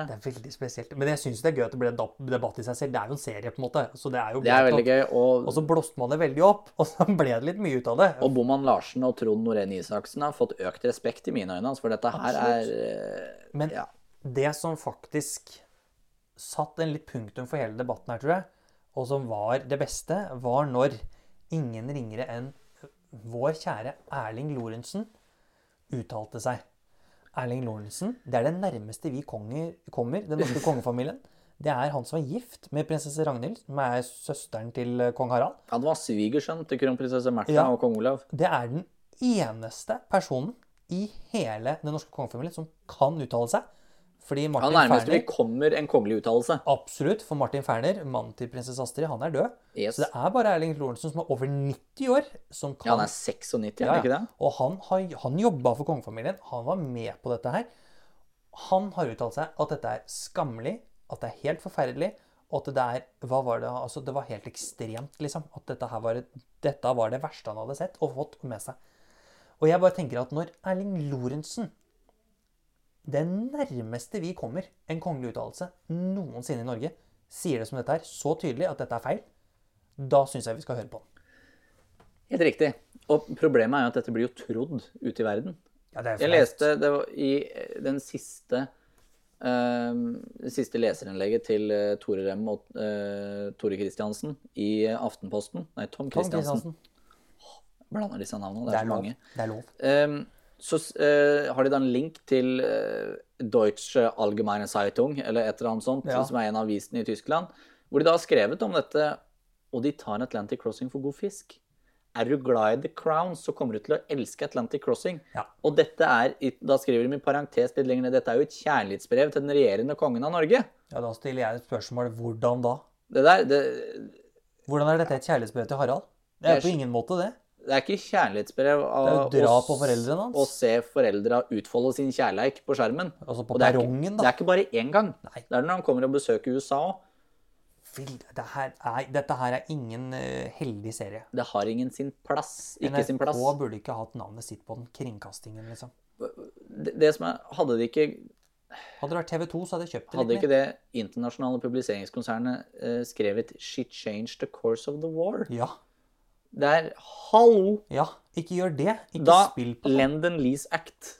B: Det er veldig spesielt. Men jeg syns det er gøy at det ble en da- debatt i seg selv. Det er jo en serie, på en måte. Så det er jo
A: Det er
B: greit
A: veldig
B: at-
A: gøy. Og,
B: Og så blåste man det veldig opp, *laughs* og så ble det litt mye ut av det.
A: og Boman Larsen og Trond Norén Isaksen har fått økt respekt i mine øyne, altså, for dette her er eh,
B: Men
A: ja.
B: det som faktisk satt en litt punktum for hele debatten her, tror jeg, og som var det beste, var når ingen ringere enn vår kjære Erling Lorentzen uttalte seg. Erling Lorentzen, det er det nærmeste vi konger kommer, den
A: *laughs*
B: norske kongefamilien. Det er han som er gift med prinsesse Ragnhild, som er søsteren til eh, kong Harald.
A: Han var svigersønn til kronprinsesse Märtha
B: Ja.
A: og kong Olav.
B: Det er den eneste personen i hele den norske kongefamilien som kan uttale seg. Fordi
A: Han
B: Martin
A: nærmest
B: Ferner
A: vi kommer en kongelig uttalelse.
B: Absolutt, for Martin Ferner, mannen til prinsesse Astrid, han er død.
A: Yes.
B: Så det er bare Erling Lorentzen som er over 90 år, som
A: Ja, han
B: kan
A: er 96, er han
B: Ja, ja.
A: ikke det?
B: Og han, har, han jobba for kongefamilien, han var med på dette her. Han har uttalt seg at dette er skammelig, at det er helt forferdelig, og at det er Hva var det Altså, det var helt ekstremt, liksom. At dette her var, dette var det verste han hadde sett og fått med seg. Og jeg bare tenker at når Erling Lorentzen det nærmeste vi kommer en kongelig uttalelse noensinne i Norge, sier det som dette her, så tydelig at dette er feil, da syns jeg vi skal høre på han.
A: Helt riktig. Og problemet er jo at dette blir jo trodd ute i verden.
B: Ja, det er
A: Jeg
B: flaut.
A: leste det var i den siste eh, det siste leserinnlegget til eh, Tore Rem og eh, Tore Kristiansen i Aftenposten. Nei, Tom
B: Tom
A: Kristiansen.
B: Kristiansen.
A: Blander disse navnene. Det er så
B: lov.
A: mange.
B: Det er lov.
A: Ehm, så eh, har de da en link til eh, Deutsche Allgemeine Zeitung, eller et eller annet sånt,
B: Ja.
A: som er en av avisene i Tyskland, hvor de da har skrevet om dette, og de tar Atlantic Crossing for god fisk. Er du glad i The Crown, så kommer du til å elske Atlantic Crossing.
B: Ja.
A: Og dette er, i- da skriver de i parentes litt lenger ned, dette er jo et kjærlighetsbrev til den regjerende kongen av Norge.
B: Ja, Da stiller jeg et spørsmål. Hvordan da?
A: Det der, det,
B: Hvordan er dette et kjærlighetsbrev til Harald? Det
A: Jeg
B: er på
A: sk-
B: ingen måte det.
A: det er ikke kjærlighetsbrev av
B: Det er jo
A: å
B: drap på foreldrene hans.
A: s- å se foreldra utfolde sin kjærleik på skjermen.
B: Altså
A: Og
B: på
A: det er, ikke,
B: perrongen,
A: det
B: da.
A: er ikke bare én gang.
B: Nei.
A: Det er når han kommer og besøker USA òg.
B: Fy, Det her er, dette her er ingen eh, heldig serie.
A: Det har ingen sin plass. Ikke sin plass.
B: NRK burde ikke hatt navnet sitt på den kringkastingen, liksom.
A: Det, det som er, hadde de ikke,
B: Hadde det vært TV 2, så hadde jeg kjøpt det. litt
A: hadde
B: mer.
A: ikke det internasjonale publiseringskonsernet eh, skrevet 'She changed the course of the war'?
B: Ja.
A: Det er hallo!
B: ja. Ikke gjør det. Ikke
A: Da
B: spill på
A: Lendon Lease Act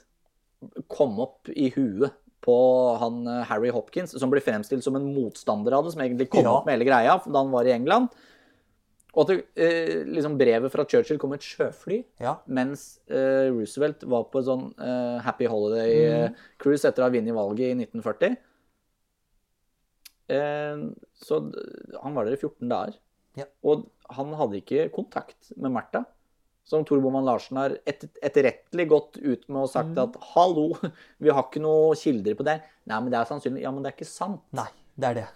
A: kom opp i huet på han eh, Harry Hopkins, som ble fremstilt som en motstander av det, som egentlig kom
B: Ja.
A: opp med hele greia da han var i England. Og at det, eh, liksom brevet fra Churchill kom med et sjøfly.
B: Ja.
A: Mens eh, Roosevelt var på sånn eh, happy holiday-cruise etter å ha vunnet valget i 1940. Eh, så d- han var der i 14 dager.
B: Ja.
A: Og han hadde ikke kontakt med Märtha. Som Tor Boman Larsen har et, etterrettelig gått ut med og sagt at 'hallo, vi har ikke noen kilder på det'. Nei, men det er sannsynlig. Ja, men det er ikke sant.
B: Nei, det er det.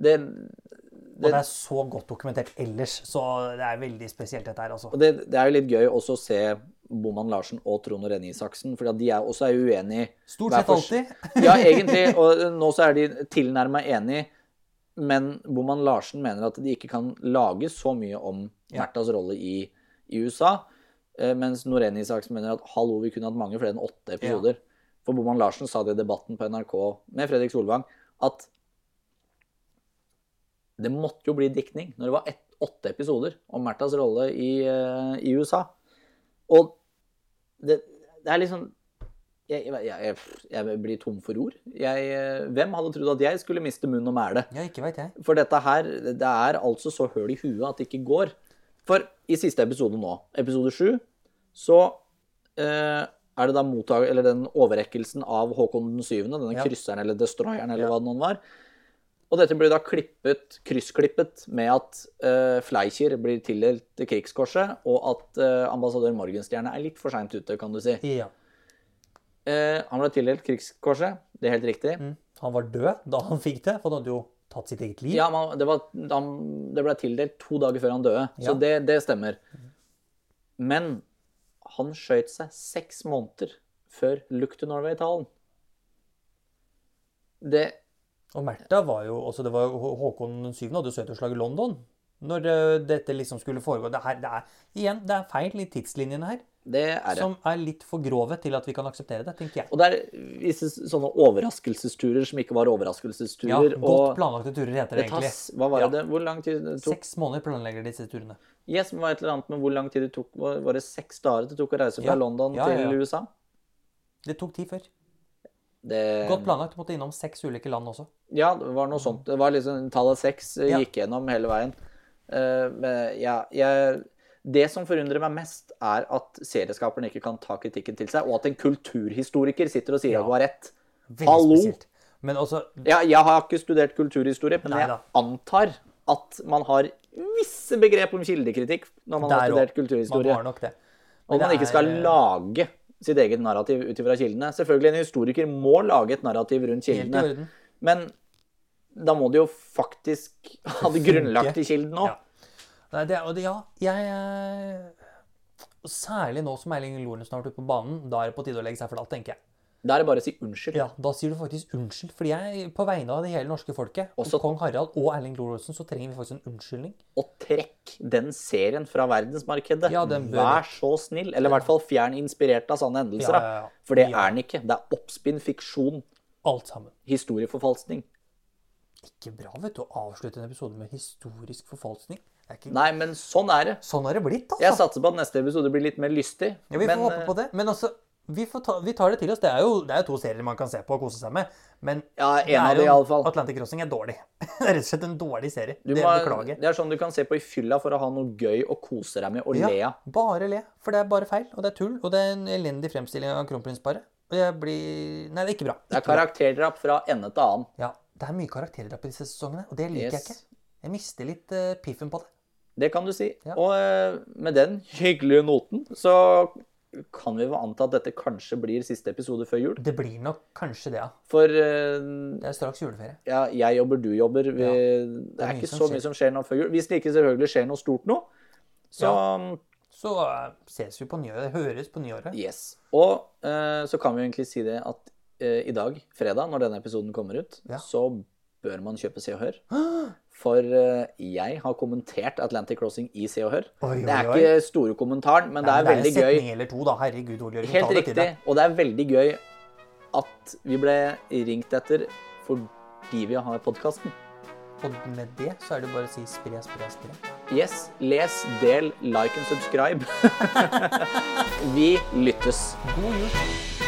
A: Det,
B: Og det er så godt dokumentert ellers, så det er veldig spesielt, dette her, altså.
A: Og det, det er jo litt gøy også å se Boman Larsen og Trond og Renne Isaksen, for de er også er uenige.
B: Stort
A: hver
B: sett
A: for- *laughs*
B: alltid.
A: Ja, egentlig. Og nå så er de tilnærma enige, men Boman Larsen mener at de ikke kan lage så mye om
B: Ja.
A: Märthas rolle i, i USA. eh, Mens Norén Isaksen mener at hallo, vi kunne hatt mange flere enn åtte episoder. For Boman Larsen sa det i debatten på NRK med Fredrik Solvang, at det måtte jo bli diktning når det var ett, åtte episoder om Märthas rolle i, eh, i USA. Og det, det er liksom jeg, jeg, jeg, jeg blir tom for ord. Jeg, eh, hvem hadde trodd at jeg skulle miste munn og mæle?
B: Ja, ikke veit jeg.
A: For dette her, det er altså så høl i huet at det ikke går. For i siste episode nå, episode sju, så eh, er det da mottag, eller den overrekkelsen av Håkon den syvende, denne
B: Ja.
A: krysseren eller destroyeren eller
B: Ja.
A: hva det nå var. Og dette blir da klippet, kryssklippet med at eh, Fleikjer blir tildelt Krigskorset, og at eh, ambassadør Morgenstjerne er litt for seint ute, kan du si.
B: Ja.
A: Eh, han ble tildelt Krigskorset, det er helt riktig.
B: Mm. Han var død da han fikk det, for han hadde jo tatt sitt eget liv.
A: Ja, men det, var, han, det ble tildelt to dager før han døde, så
B: Ja. Mm.
A: det, det stemmer. Men han skjøt seg seks måneder før Look to Norway-talen. Det
B: Og Märtha var jo også, det var jo Hå- Håkon 7. hadde jo søteslag i London. Når eh, dette liksom skulle foregå. Det, her, det er igjen, det er feil i tidslinjene her.
A: Det er det.
B: Som er litt for grove til at vi kan akseptere det, tenker jeg.
A: Og det er visse sånne overraskelsesturer som ikke var
B: Ja,
A: overraskelsesturer.
B: Godt
A: og
B: planlagte turer heter
A: det
B: det egentlig.
A: tas, hva var
B: Ja.
A: det? Hvor lang tid det tok
B: Seks måneder planlegger disse turene.
A: Yes, men det var et eller annet med hvor lang tid det tok Var var det seks dager det tok å reise fra
B: Ja.
A: London
B: Ja, ja, ja.
A: til USA?
B: Det tok tid før.
A: Det,
B: Godt planlagt. Måtte innom seks ulike land også.
A: Ja, det var noe sånt. Det var liksom tallet seks eh,
B: Ja.
A: gikk gjennom hele veien. Eh, men ja, jeg, det som forundrer meg mest, er at serieskaperne ikke kan ta kritikken til seg, og at en kulturhistoriker sitter og sier at du har rett.
B: Veldig
A: Hallo!
B: spesielt. Men også
A: Ja, jeg har ikke studert kulturhistorie, men jeg
B: Neida.
A: antar at man har visse begrep om kildekritikk når man har
B: der
A: studert
B: også. Man
A: kulturhistorie.
B: har nok det.
A: Og
B: Men
A: man
B: det
A: ikke
B: er- eh,
A: skal lage sitt eget narrativ ut ifra kildene. Selvfølgelig, en historiker må lage et narrativ rundt
B: Helt i
A: kildene.
B: orden.
A: Men da må de jo faktisk ha det grunnlagt i kilden òg.
B: Ja. Nei, det, er- og det, ja, jeg eh, Særlig nå som Erling Lorentzen har vært ute på banen, da er det på tide å legge seg flat, tenker jeg.
A: Da er det bare å si unnskyld.
B: Ja, Da sier du faktisk unnskyld, fordi jeg, på vegne av det hele norske folket,
A: Også-
B: kong Harald og Erling Lorentzen, så trenger vi faktisk en unnskyldning.
A: Og trekk den serien fra verdensmarkedet.
B: Ja, den bør-
A: Vær så snill. Eller i hvert fall fjern inspirert av sånne hendelser.
B: Ja,
A: da.
B: ja, ja.
A: For det
B: Ja.
A: er den ikke. Det er oppspinn, fiksjon,
B: Alt sammen.
A: historieforfalskning.
B: Ikke bra, vet du, å avslutte en episode med historisk forfalskning. Det er ikke...
A: Nei, men sånn er det.
B: Sånn har det blitt, altså.
A: Jeg satser på at neste episode blir litt mer lystig.
B: Ja, vi får
A: men, eh,
B: håpe på det. Men altså, vi, får ta, vi tar det til oss. Det er jo det er jo to serier man kan se på og kose seg med. Men
A: Ja, en
B: det er
A: av de i
B: jo-
A: alle fall.
B: Atlantic Crossing er dårlig. *laughs* det er rett og slett en dårlig serie.
A: Du
B: det
A: må,
B: beklager.
A: det er sånn du kan se på i fylla for å ha noe gøy å kose deg med og
B: Ja,
A: le av.
B: bare le. For det er bare feil, og det er tull, og det er en elendig fremstilling av kronprinsparet. Og jeg blir Nei, det er ikke bra.
A: Det er
B: Ikke bra.
A: karakterdrap fra ende til annen.
B: Ja, det er mye karakterdrap i disse sesongene, og det liker jeg
A: Yes.
B: ikke. Jeg mister litt eh, piffen på det.
A: Det kan du si.
B: Ja.
A: Og eh, med den hyggelige noten så kan vi vel anta at dette kanskje blir siste episode før jul.
B: Det blir nok kanskje det, ja.
A: For eh,
B: Det er straks juleferie.
A: ja, jeg jobber, du jobber. Vi, det
B: er
A: er
B: mye
A: ikke
B: som
A: så mye
B: skjer.
A: som skjer nå før jul. Hvis det ikke selvfølgelig skjer noe stort nå, så mm,
B: Så eh, ses vi på nyåret. Høres på nyåret.
A: yes. Og eh, så kan vi jo egentlig si det at eh, i dag, fredag, når denne episoden kommer ut,
B: Ja.
A: så bør man kjøpe Se og Hør.
B: *gasps*
A: For eh, jeg har kommentert Atlantic Crossing i Se og Hør.
B: Oi,
A: Det er
B: oi, oi.
A: ikke store kommentaren, men det er
B: Men
A: veldig
B: Det er en
A: gøy.
B: setning eller to, da. Herregud, Ole Jørgen.
A: Helt
B: ta det
A: riktig.
B: til deg.
A: Og det er veldig gøy at vi ble ringt etter fordi vi har podkasten.
B: Og med det så er det bare å si spre, spre, spre.
A: Yes, les, del, like and subscribe. *laughs* vi lyttes.
B: God jul.